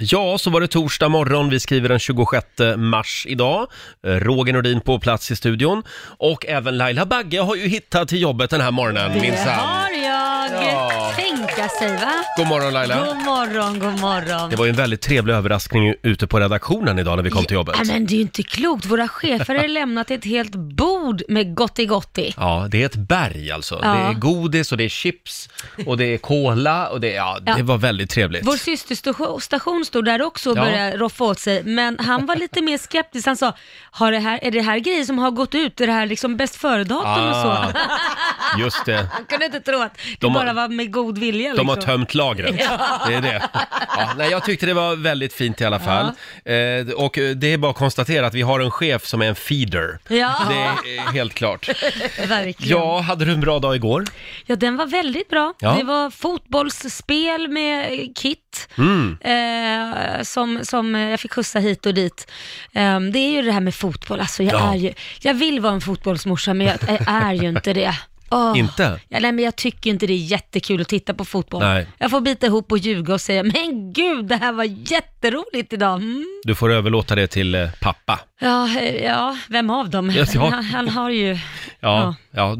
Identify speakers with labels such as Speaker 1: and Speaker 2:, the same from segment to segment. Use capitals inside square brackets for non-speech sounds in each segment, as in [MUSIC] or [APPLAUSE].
Speaker 1: Ja, så var det torsdag morgon. Vi skriver den 26 mars idag. Eh, Roger Nordin på plats i studion. Och även Laila Bagge har ju hittat till jobbet den här morgonen,
Speaker 2: Det
Speaker 1: minsann.
Speaker 2: har jag!
Speaker 1: Ja.
Speaker 2: Tänka sig va?
Speaker 1: God morgon Laila.
Speaker 2: God morgon, god morgon.
Speaker 1: Det var ju en väldigt trevlig överraskning ute på redaktionen idag när vi kom till jobbet.
Speaker 2: Ja, men det är ju inte klokt. Våra chefer har lämnat ett helt bord med gotti-gotti.
Speaker 1: Ja, det är ett berg alltså.
Speaker 2: Ja.
Speaker 1: Det är godis och det är chips och det är cola och det, ja, det
Speaker 2: Ja.
Speaker 1: var väldigt trevligt.
Speaker 2: Vår systerstation stod där också och
Speaker 1: Ja.
Speaker 2: började roffa åt sig, men han var lite mer skeptisk. Han sa, har det här, är det här grejer som har gått ut? Är det här liksom bäst före-datum och
Speaker 1: Ah,
Speaker 2: så?
Speaker 1: Just det.
Speaker 2: [LAUGHS] Han kunde inte tro att det
Speaker 1: De har-
Speaker 2: bara var med god vilja.
Speaker 1: De
Speaker 2: Liksom.
Speaker 1: har tömt lagret.
Speaker 2: Ja.
Speaker 1: Det är det. Ja, nej, jag tyckte det var väldigt fint i alla fall. Eh, och eh, det är bara att konstatera att vi har en chef som är en feeder.
Speaker 2: Ja,
Speaker 1: Det är eh, helt klart.
Speaker 2: verkligen.
Speaker 1: Ja, hade du en bra dag igår?
Speaker 2: Ja, den var väldigt bra.
Speaker 1: Ja.
Speaker 2: Det var fotbollsspel med eh, Kit,
Speaker 1: Mm.
Speaker 2: eh, som, som eh, jag fick skjutsa hit och dit. Eh, det är ju det här med fotboll, alltså jag,
Speaker 1: Ja.
Speaker 2: är ju, jag vill vara en fotbollsmorsa, men jag är- är ju inte det. Åh.
Speaker 1: Inte?
Speaker 2: Ja, nej, men jag tycker inte det är jättekul att titta på fotboll.
Speaker 1: Nej.
Speaker 2: Jag får bita ihop och ljuga och säga, men gud, det här var jätteroligt idag. Mm.
Speaker 1: Du får överlåta det till eh, pappa.
Speaker 2: Ja, eh, ja, vem av dem?
Speaker 1: Ja, ja.
Speaker 2: Han, han har ju...
Speaker 1: Ja, ja.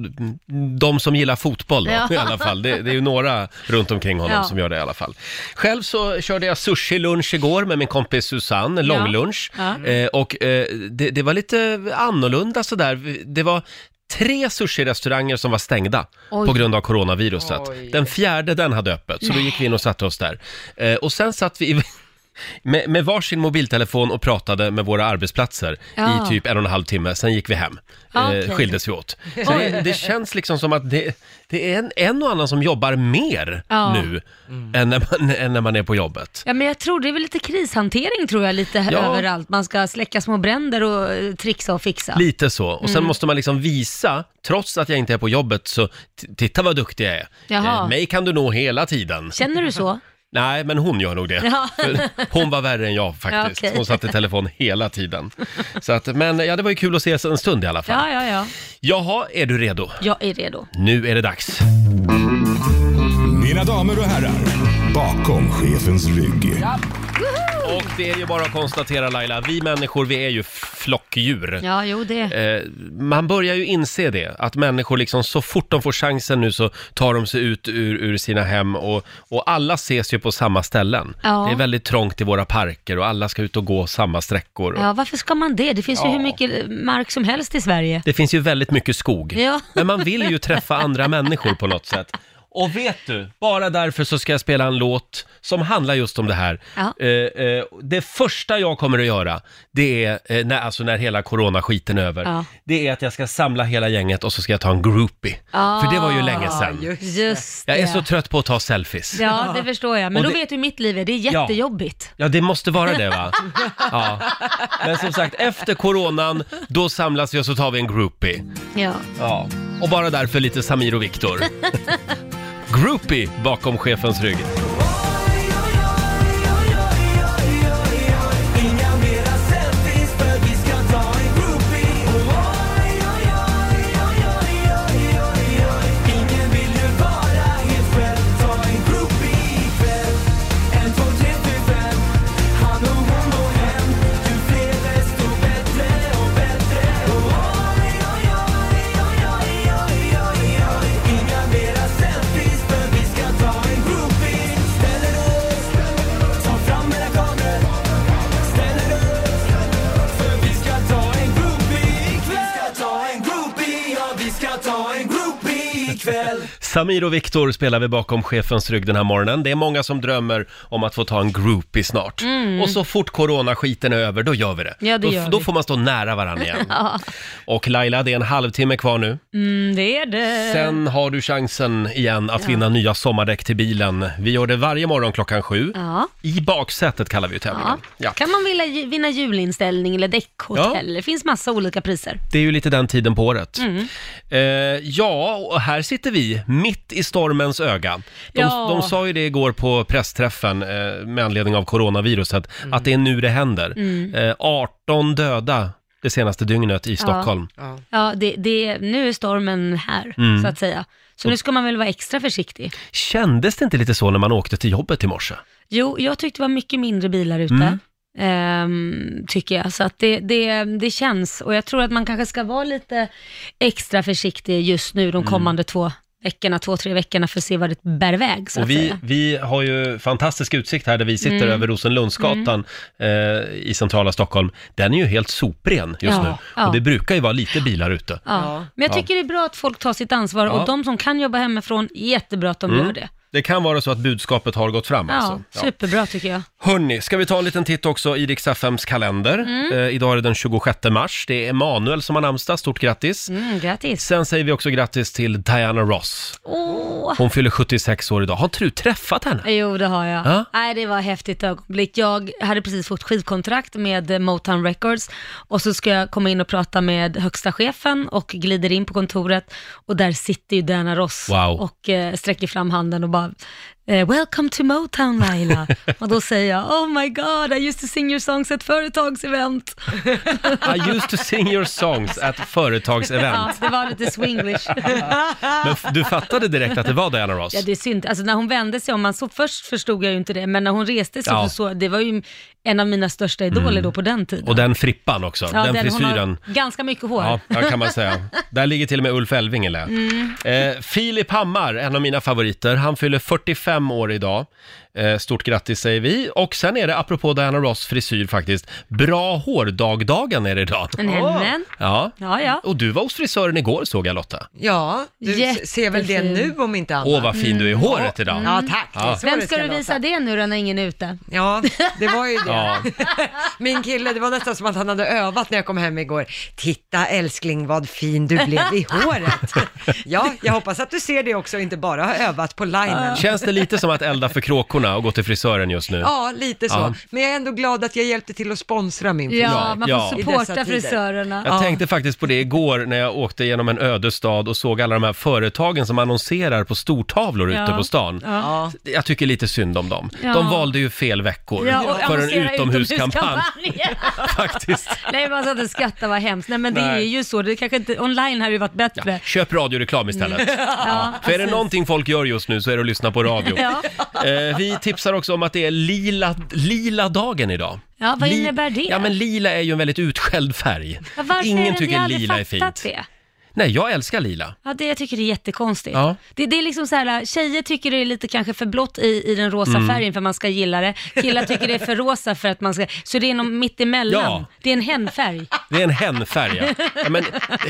Speaker 1: de som gillar fotboll då,
Speaker 2: Ja.
Speaker 1: i alla fall. Det, det är ju några runt omkring honom
Speaker 2: Ja.
Speaker 1: som gör det i alla fall. Själv så körde jag sushi-lunch igår med min kompis Susanne, en
Speaker 2: Ja.
Speaker 1: långlunch.
Speaker 2: Ja. Mm.
Speaker 1: Eh, och eh, det, det var lite annorlunda sådär. Det var tre sushi-restauranger som var stängda
Speaker 2: Oj.
Speaker 1: på grund av coronaviruset.
Speaker 3: Oj.
Speaker 1: Den fjärde den hade öppet, så då gick vi in och satte oss där. Eh, och sen satt vi i- [LAUGHS] med, med varsin mobiltelefon och pratade med våra arbetsplatser
Speaker 2: Ja.
Speaker 1: i typ en och en halv timme, sen gick vi hem.
Speaker 2: Ah,
Speaker 1: Eh,
Speaker 2: okej.
Speaker 1: Skildes vi
Speaker 2: [LAUGHS]
Speaker 1: åt. Så det, det känns liksom som att det, det är en, en och annan som jobbar mer
Speaker 2: Ja.
Speaker 1: nu än, när man, än när man är på jobbet.
Speaker 2: Ja, men jag tror det är väl lite krishantering tror jag, lite
Speaker 1: Ja.
Speaker 2: överallt. Man ska släcka små bränder och eh, trixa och fixa.
Speaker 1: Lite så. Och
Speaker 2: Mm.
Speaker 1: sen måste man liksom visa, trots att jag inte är på jobbet, så t- titta vad duktig jag är.
Speaker 2: Jaha.
Speaker 1: Eh, mig kan du nå hela tiden.
Speaker 2: Känner
Speaker 1: [LAUGHS]
Speaker 2: du så?
Speaker 1: Nej, men hon gör nog det.
Speaker 2: Ja.
Speaker 1: För Hon var värre än jag faktiskt.
Speaker 2: Ja, okej.
Speaker 1: Hon satt i telefon hela tiden. Så att, men ja, det var ju kul att ses en stund i alla fall.
Speaker 2: Ja, ja, ja.
Speaker 1: Jaha, är du redo?
Speaker 2: Jag är redo.
Speaker 1: Nu är det dags.
Speaker 4: Mina damer och herrar, bakom chefens rygg.
Speaker 2: Mm.
Speaker 1: Och det är ju bara att konstatera Laila, vi människor vi är ju flockdjur.
Speaker 2: Ja, jo det.
Speaker 1: Eh, man börjar ju inse det, att människor liksom så fort de får chansen nu så tar de sig ut ur, ur sina hem och, och alla ses ju på samma ställen.
Speaker 2: Ja.
Speaker 1: Det är väldigt trångt i våra parker och alla ska ut och gå samma sträckor.
Speaker 2: Ja, varför ska man det? Det finns ju hur mycket mark som helst i Sverige.
Speaker 1: Det finns ju väldigt mycket skog.
Speaker 2: Ja.
Speaker 1: Men man vill ju träffa andra människor på något sätt. Och vet du, bara därför så ska jag spela en låt som handlar just om det här.
Speaker 2: Ja.
Speaker 1: Eh, eh, det första jag kommer att göra, det är, eh, när, alltså när hela coronaskiten är över,
Speaker 2: Ja.
Speaker 1: det är att jag ska samla hela gänget och så ska jag ta en groupie.
Speaker 2: Ah.
Speaker 1: För det var ju länge sedan.
Speaker 2: Just det.
Speaker 1: Jag är så trött på att ta selfies. Ja.
Speaker 2: Ja, det förstår jag. Men
Speaker 1: Och
Speaker 2: då
Speaker 1: det-
Speaker 2: vet du hur mitt liv är. Det är jättejobbigt.
Speaker 1: det måste vara det va? Ja. Men som sagt, efter coronan, då samlas vi och så tar vi en groupie.
Speaker 2: Ja.
Speaker 1: Ja, och bara därför lite Samir och Viktor.
Speaker 2: [LAUGHS]
Speaker 1: Groupie bakom chefens rygg. Samir och Viktor spelar vi bakom chefens rygg den här morgonen. Det är många som drömmer om att få ta en groupie snart. Och så fort coronaskiten är över, då gör vi det.
Speaker 2: Mm. Ja, det
Speaker 1: då,
Speaker 2: gör vi.
Speaker 1: då får man stå nära
Speaker 2: [LAUGHS]
Speaker 1: varandra igen. Och Laila, det är en halvtimme kvar nu.
Speaker 2: Mm, det är det.
Speaker 1: Sen har du chansen igen att vinna nya sommardäck till bilen. Vi gör det varje morgon klockan sju.
Speaker 2: Ja.
Speaker 1: I baksätet kallar vi ju tävlingen.
Speaker 2: Ja. Kan man vilja ju- vinna julinställning eller däckhotell? Det finns massa olika priser.
Speaker 1: Det är ju lite den tiden på året.
Speaker 2: Mm.
Speaker 1: Eh, ja, och här sitter vi, mitt i stormens öga. De,
Speaker 2: Ja.
Speaker 1: de sa ju det igår på pressträffen eh, med anledning av coronaviruset,
Speaker 2: Mm.
Speaker 1: att det är nu det händer. Eh, 18 döda det senaste dygnet i Stockholm.
Speaker 3: Ja.
Speaker 2: Ja, det, det, nu är stormen här,
Speaker 1: Mm.
Speaker 2: så att säga. Så nu ska man väl vara extra försiktig.
Speaker 1: Kändes det inte lite så när man åkte till jobbet i morse?
Speaker 2: Jo, jag tyckte det var mycket mindre bilar ute.
Speaker 1: Mm.
Speaker 2: ehm, tycker jag, så att det, det, det känns. Och jag tror att man kanske ska vara lite extra försiktig just nu
Speaker 1: Mm.
Speaker 2: de kommande två veckorna, två, tre veckorna för att se vad det bär iväg. Så att
Speaker 1: Och vi,
Speaker 2: säga.
Speaker 1: vi har ju fantastisk utsikt här där vi sitter
Speaker 2: Mm.
Speaker 1: över Rosenlundsgatan eh, i centrala Stockholm. Den är ju helt sopren just
Speaker 2: Ja,
Speaker 1: nu.
Speaker 2: ja.
Speaker 1: Och det brukar ju vara lite bilar ute.
Speaker 2: Ja. Men jag
Speaker 1: Ja.
Speaker 2: tycker det är bra att folk tar sitt ansvar
Speaker 1: Ja.
Speaker 2: och de som kan jobba hemifrån, jättebra att de
Speaker 1: Mm.
Speaker 2: gör det.
Speaker 1: Det kan vara så att budskapet har gått fram
Speaker 2: Ja,
Speaker 1: alltså. Ja.
Speaker 2: superbra tycker jag.
Speaker 1: Hörni, ska vi ta en liten titt också i Rix FMs kalender?
Speaker 2: Mm.
Speaker 1: Eh, idag är det den 26 mars. Det är Emanuel som har namnsdag. Stort grattis!
Speaker 2: Mm, grattis.
Speaker 1: Sen säger vi också grattis till Diana Ross.
Speaker 2: Åh.
Speaker 1: Hon fyller 76 år idag. Har inte du träffat henne?
Speaker 2: Jo, det har jag.
Speaker 1: Ja.
Speaker 2: Nej, det var ett häftigt ögonblick. Jag hade precis fått skivkontrakt med eh, Motown Records och så ska jag komma in och prata med högsta chefen och glider in på kontoret och där sitter ju Diana Ross
Speaker 1: Wow.
Speaker 2: och eh, sträcker fram handen och bara eh, “Welcome to Motown
Speaker 1: [LAUGHS]
Speaker 2: Laila” och då säger jag “Oh my God, I used to sing your songs at företagsevent”.
Speaker 1: I used to sing your songs at företagsevent.
Speaker 2: Ja, det var
Speaker 1: [LAUGHS]
Speaker 2: lite swinglish.
Speaker 1: Men f- du fattade direkt att det var Diana Ross?
Speaker 2: Ja, det är synd. Alltså när hon vände sig om, man så först förstod jag ju inte det, men när hon reste sig
Speaker 1: Ja. Mm.
Speaker 2: så såg jag, det var ju en av mina största idoler då på den tiden.
Speaker 1: Och den frippan också,
Speaker 2: Ja,
Speaker 1: den,
Speaker 2: Hon
Speaker 1: frisyren.
Speaker 2: har ganska mycket hår.
Speaker 1: Ja, ja, kan man säga. Där ligger till och med Ulf Elving i lä.
Speaker 3: Mm.
Speaker 1: Eh, Filip Hammar, en av mina favoriter, han fyller 45 år idag. Eh, stort grattis säger vi. Och sen är det, apropå Diana Ross frisyr faktiskt, bra hårdagdagen är det idag.
Speaker 2: Nämen.
Speaker 1: Ja.
Speaker 2: Ja, ja.
Speaker 1: Och du var hos frisören igår såg jag Lotta.
Speaker 3: Ja, du
Speaker 2: Jättefin.
Speaker 3: ser väl det nu om inte annat.
Speaker 1: Åh vad fin du är i håret idag.
Speaker 3: Ja, tack. Det är
Speaker 1: Ja.
Speaker 3: så
Speaker 2: Vem
Speaker 3: det
Speaker 2: ska du
Speaker 3: låta.
Speaker 2: visa det nu då när ingen är ute?
Speaker 3: Ja, det
Speaker 1: [LAUGHS]
Speaker 3: var ju
Speaker 1: Ja.
Speaker 3: det. [LAUGHS] Min kille, det var nästan som att han hade övat när jag kom hem igår. Titta älskling vad fin du blev i
Speaker 2: [LAUGHS]
Speaker 3: håret. Ja, jag hoppas att du ser det också och inte bara har övat på linen.
Speaker 1: Känns det lite som att elda för kråkorna och gå till frisören just nu?
Speaker 3: Ja, lite så.
Speaker 1: Ja.
Speaker 3: Men jag är ändå glad att jag hjälpte till att sponsra min
Speaker 2: Ja,
Speaker 3: frisör.
Speaker 2: man får
Speaker 1: ja.
Speaker 3: I dessa
Speaker 2: supporta
Speaker 3: tider.
Speaker 2: frisörerna.
Speaker 1: Jag
Speaker 3: Ja.
Speaker 1: tänkte faktiskt på det igår när jag åkte genom en ödestad och såg alla de här företagen som annonserar på stortavlor ute
Speaker 2: Ja.
Speaker 1: på stan.
Speaker 2: Ja.
Speaker 3: Ja.
Speaker 1: Jag tycker lite synd om dem.
Speaker 2: Ja.
Speaker 1: De valde ju fel veckor
Speaker 2: Ja, och
Speaker 1: för en
Speaker 2: annonsera
Speaker 1: utomhuskampanj. [LAUGHS]
Speaker 2: utomhuskampanj.
Speaker 1: Faktiskt.
Speaker 2: Nej, man satt och skrattade, vad hemskt. Nej, men det
Speaker 1: Nej.
Speaker 2: är ju så. Det kanske inte, online hade ju varit bättre.
Speaker 1: Köp radioreklam istället.
Speaker 2: Ja,
Speaker 1: För är det
Speaker 2: precis.
Speaker 1: någonting folk gör just nu så är det att lyssna på radio.
Speaker 2: Ja.
Speaker 1: Eh, vi tipsar också om att det är lila, lila dagen idag.
Speaker 2: Ja, vad innebär det?
Speaker 1: Ja, men lila är ju en väldigt utskälld färg.
Speaker 2: Ja, varför är det
Speaker 1: Ingen
Speaker 2: inte jag
Speaker 1: tycker
Speaker 2: hade
Speaker 1: lila är
Speaker 2: fattat
Speaker 1: fint.
Speaker 2: Det?
Speaker 1: Nej, jag älskar lila.
Speaker 2: Ja, det, jag tycker det är jättekonstigt.
Speaker 1: Ja.
Speaker 2: Det, det är liksom så här, tjejer tycker det är lite kanske för blått i, i den rosa
Speaker 1: Mm.
Speaker 2: färgen för man ska gilla det. Killar tycker det är för rosa för att man ska, så det är någon mittemellan.
Speaker 1: Ja.
Speaker 2: Det är en hennfärg.
Speaker 1: Det är en hennfärg, ja. ja. Men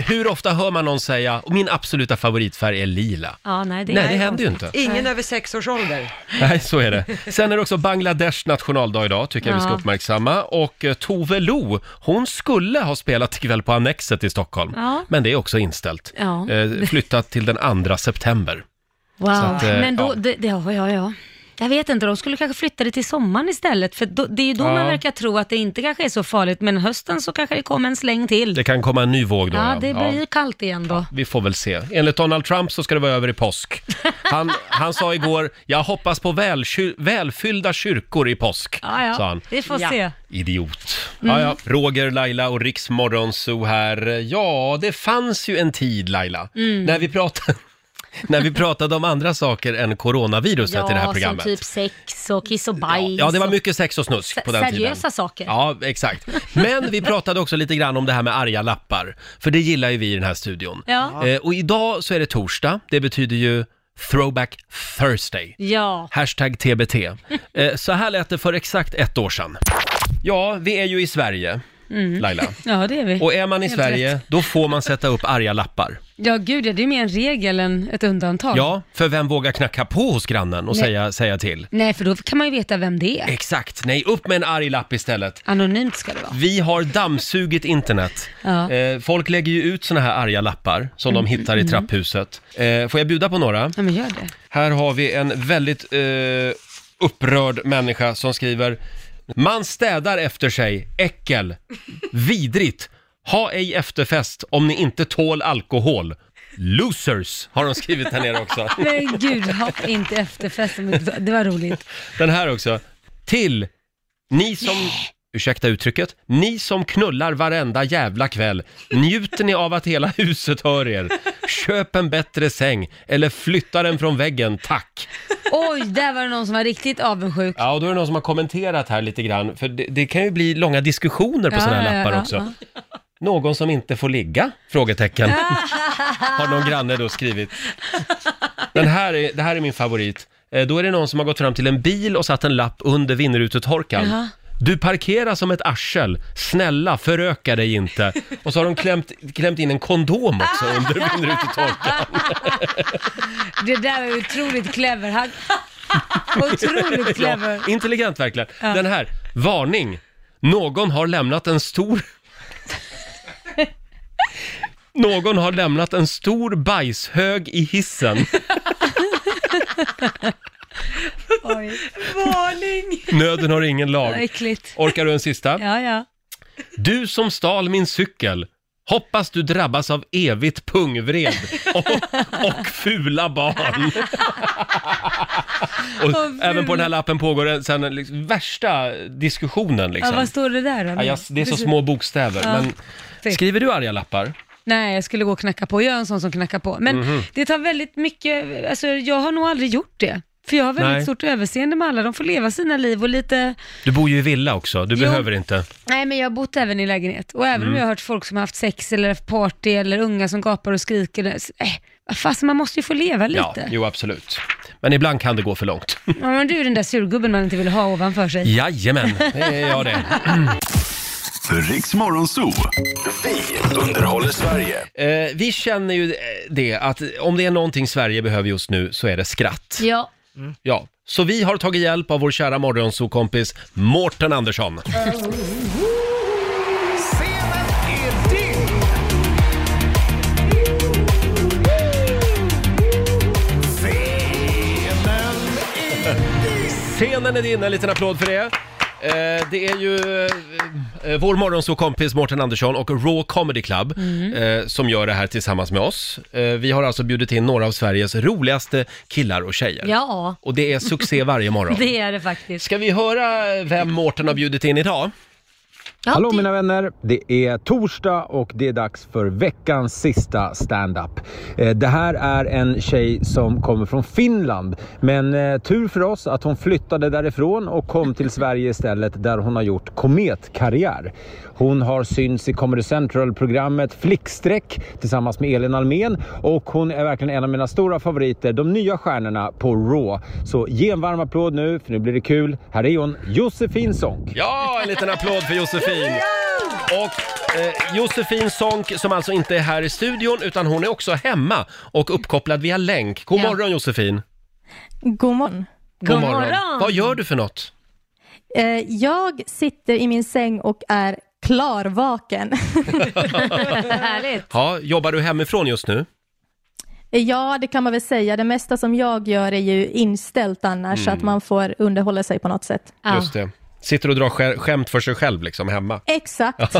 Speaker 1: hur ofta hör man någon säga och min absoluta favoritfärg är lila?
Speaker 2: Ja, nej, det,
Speaker 1: Nej,
Speaker 2: är
Speaker 1: det händer ju
Speaker 2: konstigt.
Speaker 1: inte.
Speaker 3: Ingen över sex års ålder.
Speaker 1: Nej, så är det. Sen är det också Bangladesh nationaldag idag, tycker jag vi ska
Speaker 2: Ja.
Speaker 1: uppmärksamma. Och eh, Tove Lo, hon skulle ha spelat ikväll på Annexet i Stockholm.
Speaker 2: Ja.
Speaker 1: Men det är också inställt.
Speaker 2: Ja.
Speaker 1: Eh, flyttat till den 2 september.
Speaker 2: Wow.
Speaker 1: att, eh,
Speaker 2: Men då,
Speaker 1: ja.
Speaker 2: det, det, ja, ja, ja. Jag vet inte, de skulle kanske flytta det till sommaren istället, för då, det är ju då
Speaker 1: Ja.
Speaker 2: man verkar tro att det inte kanske är så farligt, men hösten så kanske det kommer en släng till.
Speaker 1: Det kan komma en ny våg då.
Speaker 2: ja, det blir ju kallt igen då.
Speaker 1: Vi får väl se. Enligt Donald Trump så ska det vara över i påsk. Han, han sa igår, jag hoppas på välky- välfyllda kyrkor i påsk,
Speaker 2: Ja, ja.
Speaker 1: sa han.
Speaker 2: Vi får
Speaker 3: Ja.
Speaker 2: se.
Speaker 1: Idiot.
Speaker 2: Mm.
Speaker 1: Ja, ja. Roger, Laila och Riks Morgonzoo här. Ja, det fanns ju en tid, Laila,
Speaker 2: Mm.
Speaker 1: när, vi pratade, [LAUGHS] när vi pratade om andra saker än coronaviruset i det här
Speaker 2: som
Speaker 1: programmet.
Speaker 2: typ sex och kiss och bajs.
Speaker 1: Ja, det var
Speaker 2: och-
Speaker 1: mycket sex och snusk
Speaker 2: Se-
Speaker 1: på den tiden.
Speaker 2: seriösa saker.
Speaker 1: Ja, exakt. Men vi pratade också lite grann om det här med arga lappar, för det gillar ju vi i den här studion.
Speaker 2: Ja.
Speaker 1: Eh, och idag så är det torsdag, det betyder ju Throwback Thursday.
Speaker 2: Ja.
Speaker 1: Hashtag TBT. Eh, så här lät det för exakt ett år sedan. Ja, vi är ju i Sverige, Laila.
Speaker 2: Ja, det är vi.
Speaker 1: Och är man i
Speaker 2: Mm. Helt
Speaker 1: Sverige, då får man sätta upp arga lappar.
Speaker 2: Ja, gud ja, det är mer en regel än ett undantag.
Speaker 1: Ja, för vem vågar knacka på hos grannen och
Speaker 2: Nej.
Speaker 1: säga, säga till?
Speaker 2: Nej, för då kan man ju veta vem det är.
Speaker 1: Exakt, nej, upp med en arg lapp istället.
Speaker 2: Anonymt ska det vara.
Speaker 1: Vi har dammsugit internet.
Speaker 2: Ja. Mm.
Speaker 1: Eh, folk lägger ju ut såna här arga lappar som de hittar i trapphuset. Eh, får jag bjuda på några?
Speaker 2: Ja, men gör det.
Speaker 1: Här har vi en väldigt eh, upprörd människa som skriver Man städar efter sig, äckel, vidrigt, ha ej efterfest om ni inte tål alkohol. Losers har de skrivit här nere också.
Speaker 2: Men gud, ha inte efterfest. om inte- Det var roligt.
Speaker 1: Den här också. Till ni som, ursäkta uttrycket, ni som knullar varenda jävla kväll, njuter ni av att hela huset hör er? Köp en bättre säng eller flytta den från väggen, tack.
Speaker 2: Oj, där var det någon som var riktigt avundsjuk.
Speaker 1: Ja, och då är det någon som har kommenterat här lite grann, för det, det kan ju bli långa diskussioner på
Speaker 2: Ja,
Speaker 1: sådana
Speaker 2: ja,
Speaker 1: här lappar
Speaker 2: ja,
Speaker 1: också.
Speaker 2: ja.
Speaker 1: Någon som inte får ligga?
Speaker 2: [LAUGHS]
Speaker 1: Frågetecken. Har någon granne då skrivit. Den här är, det här är min favorit. Eh, Då är det någon som har gått fram till en bil och satt en lapp under vindrutetorkaren.
Speaker 2: Jaha.
Speaker 1: Du parkerar som ett arsel. Snälla, föröka dig inte. Och så har de klämt, klämt in en kondom också
Speaker 2: [LAUGHS]
Speaker 1: under vindrutetorkaren.
Speaker 2: Det där var ju otroligt clever. Han... Otroligt clever.
Speaker 1: Ja, intelligent verkligen. Den här, varning. Någon har lämnat en stor... Någon har lämnat en stor bajshög i hissen.
Speaker 2: Oj,
Speaker 3: Varning!
Speaker 1: Nöden har ingen
Speaker 2: vad
Speaker 1: lag.
Speaker 2: äckligt.
Speaker 1: Orkar du en sista?
Speaker 2: Ja, ja.
Speaker 1: Du som stal min cykel. Hoppas du drabbas av evigt pungvred och, och fula
Speaker 2: [LAUGHS]
Speaker 1: barn.
Speaker 2: Och
Speaker 1: Och
Speaker 2: fula.
Speaker 1: även på den här lappen pågår en- sen en liksom, värsta diskussionen.
Speaker 2: ja
Speaker 1: Liksom.
Speaker 2: vad står det där då?
Speaker 1: Ja, jag, det är så små bokstäver.
Speaker 2: Ja.
Speaker 1: Men skriver du arga lappar?
Speaker 2: Nej, jag skulle gå och knacka på. Jag är en sån som knackar på. Men
Speaker 1: Mhm.
Speaker 2: det tar väldigt mycket, alltså jag har nog aldrig gjort det. För jag har väldigt
Speaker 1: Nej.
Speaker 2: stort överseende med alla. De får leva sina liv och lite,
Speaker 1: Du bor ju i villa också, du
Speaker 2: Jo.
Speaker 1: behöver inte.
Speaker 2: nej men jag har bott även i lägenhet. Och även
Speaker 1: Mm.
Speaker 2: om jag har hört folk som har haft sex eller haft party eller unga som gapar och skriker. Äh, fast man måste ju få leva
Speaker 1: Ja,
Speaker 2: lite. Ja,
Speaker 1: jo absolut. Men ibland kan det gå för
Speaker 2: [LAUGHS]
Speaker 1: långt.
Speaker 2: men du är den där surgubben man inte vill ha ovanför sig.
Speaker 1: Jajamän, det
Speaker 2: [LAUGHS]
Speaker 1: är jag det.
Speaker 4: Riks Morgonzoo. Vi underhåller Sverige.
Speaker 1: Eh, vi känner ju eh, det att om det är någonting Sverige behöver just nu så är det skratt.
Speaker 2: Ja.
Speaker 1: Ja, så vi har tagit hjälp av vår kära morgonsokompis Mårten Andersson.
Speaker 5: Scenen är din! Scenen är
Speaker 1: Scenen är din, en liten applåd för det. Eh, det är ju eh, vår morgonsåkompis Mårten Andersson och Raw Comedy Club eh, som gör det här tillsammans med oss. Eh, vi har alltså bjudit in några av Sveriges roligaste killar och tjejer.
Speaker 2: ja,
Speaker 1: Och det är succé varje [LAUGHS] morgon.
Speaker 2: det är det faktiskt.
Speaker 1: Ska vi höra vem Mårten har bjudit in idag?
Speaker 2: Ja,
Speaker 6: Hallå
Speaker 2: det-
Speaker 6: mina vänner! Det är torsdag och det är dags för veckans sista stand-up. Eh, Det här är en tjej som kommer från Finland. Men eh, tur för oss att hon flyttade därifrån och kom till Sverige istället där hon har gjort kometkarriär. Hon har synts i Comedy Central-programmet Flickstreck tillsammans med Elin Almen och hon är verkligen en av mina stora favoriter, de nya stjärnorna på Raw. Så ge en varm applåd nu för nu blir det kul. Här är hon, Josefin Sonck.
Speaker 1: Ja, en [LAUGHS] liten applåd för Josefin! Och eh, Josefin Sonck som alltså inte är här i studion utan hon är också hemma och uppkopplad via länk. God
Speaker 2: Ja.
Speaker 1: morgon Josefin!
Speaker 7: God morgon.
Speaker 2: God morgon!
Speaker 1: Vad gör du för något?
Speaker 7: Eh, jag sitter i min säng och är klarvaken. [LAUGHS]
Speaker 2: Härligt.
Speaker 1: Ja, jobbar du hemifrån just nu?
Speaker 7: ja, det kan man väl säga. Det mesta som jag gör är ju inställt annars, så att man får underhålla sig på något sätt.
Speaker 2: Ja.
Speaker 1: Just det. Sitter och drar sk- skämt för sig själv liksom [LAUGHS] hemma.
Speaker 7: Exakt.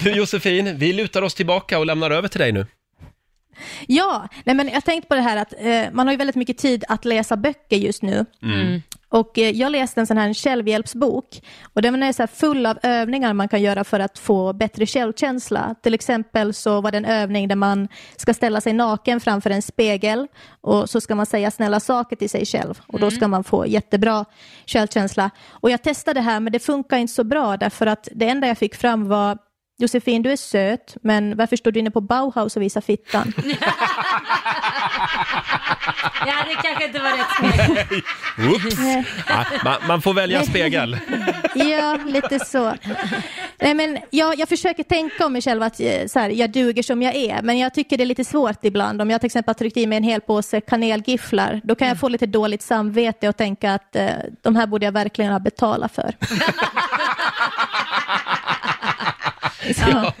Speaker 1: Du Josefin, vi lutar oss tillbaka och lämnar över till dig nu.
Speaker 7: ja, nej, men jag har tänkt på det här att eh, man har ju väldigt mycket tid att läsa böcker just nu. Och eh, jag läste en sån här självhjälpsbok och den är så här full av övningar man kan göra för att få bättre självkänsla. Till exempel så var det en övning där man ska ställa sig naken framför en spegel och så ska man säga snälla saker till sig själv och då ska man få jättebra självkänsla. Och jag testade det här men det funkar inte så bra därför att det enda jag fick fram var Josefin, du är söt, men varför står du inne på Bauhaus och visar fittan?
Speaker 2: Ja, det kanske inte var rätt steg.
Speaker 1: Oops. Ja, man, man får välja spegel.
Speaker 7: [LAUGHS] Ja, lite så. Nej, men jag, jag försöker tänka om mig själv att eh, så här, jag duger som jag är, men jag tycker det är lite svårt ibland. Om jag till exempel har tryckt i mig en hel påse kanelgifflar, då kan jag få lite dåligt samvete och tänka att eh, de här borde jag verkligen ha
Speaker 1: [LAUGHS]
Speaker 7: betalat för. Så.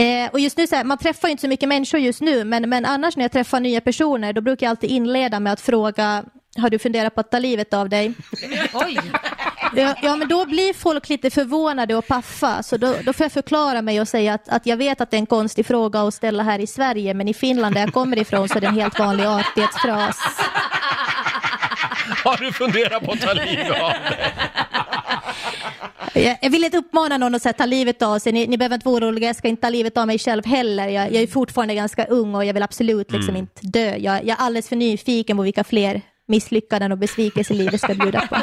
Speaker 7: Eh, och just nu, så här, man träffar ju inte så mycket människor just nu, men, men annars när jag träffar nya personer, då brukar jag alltid inleda med att fråga, har du funderat på att ta livet av dig?
Speaker 2: [LAUGHS] Oj.
Speaker 7: Ja, ja, men då blir folk lite förvånade och paffa, så då, då får jag förklara mig och säga att, att jag vet att det är en konstig fråga att ställa här i Sverige, men i Finland där jag kommer ifrån så är det en helt vanlig artighetsfras.
Speaker 1: Har du funderat på att ta livet av dig?
Speaker 7: Jag jag vill inte uppmana någon att så här, ta livet av sig. Ni, ni behöver inte vara oroliga. Jag ska inte ta livet av mig själv heller. Jag, jag är fortfarande ganska ung och jag vill absolut liksom inte dö. Jag, jag är alldeles för nyfiken på vilka fler misslyckanden och besvikelser livet ska bjuda på.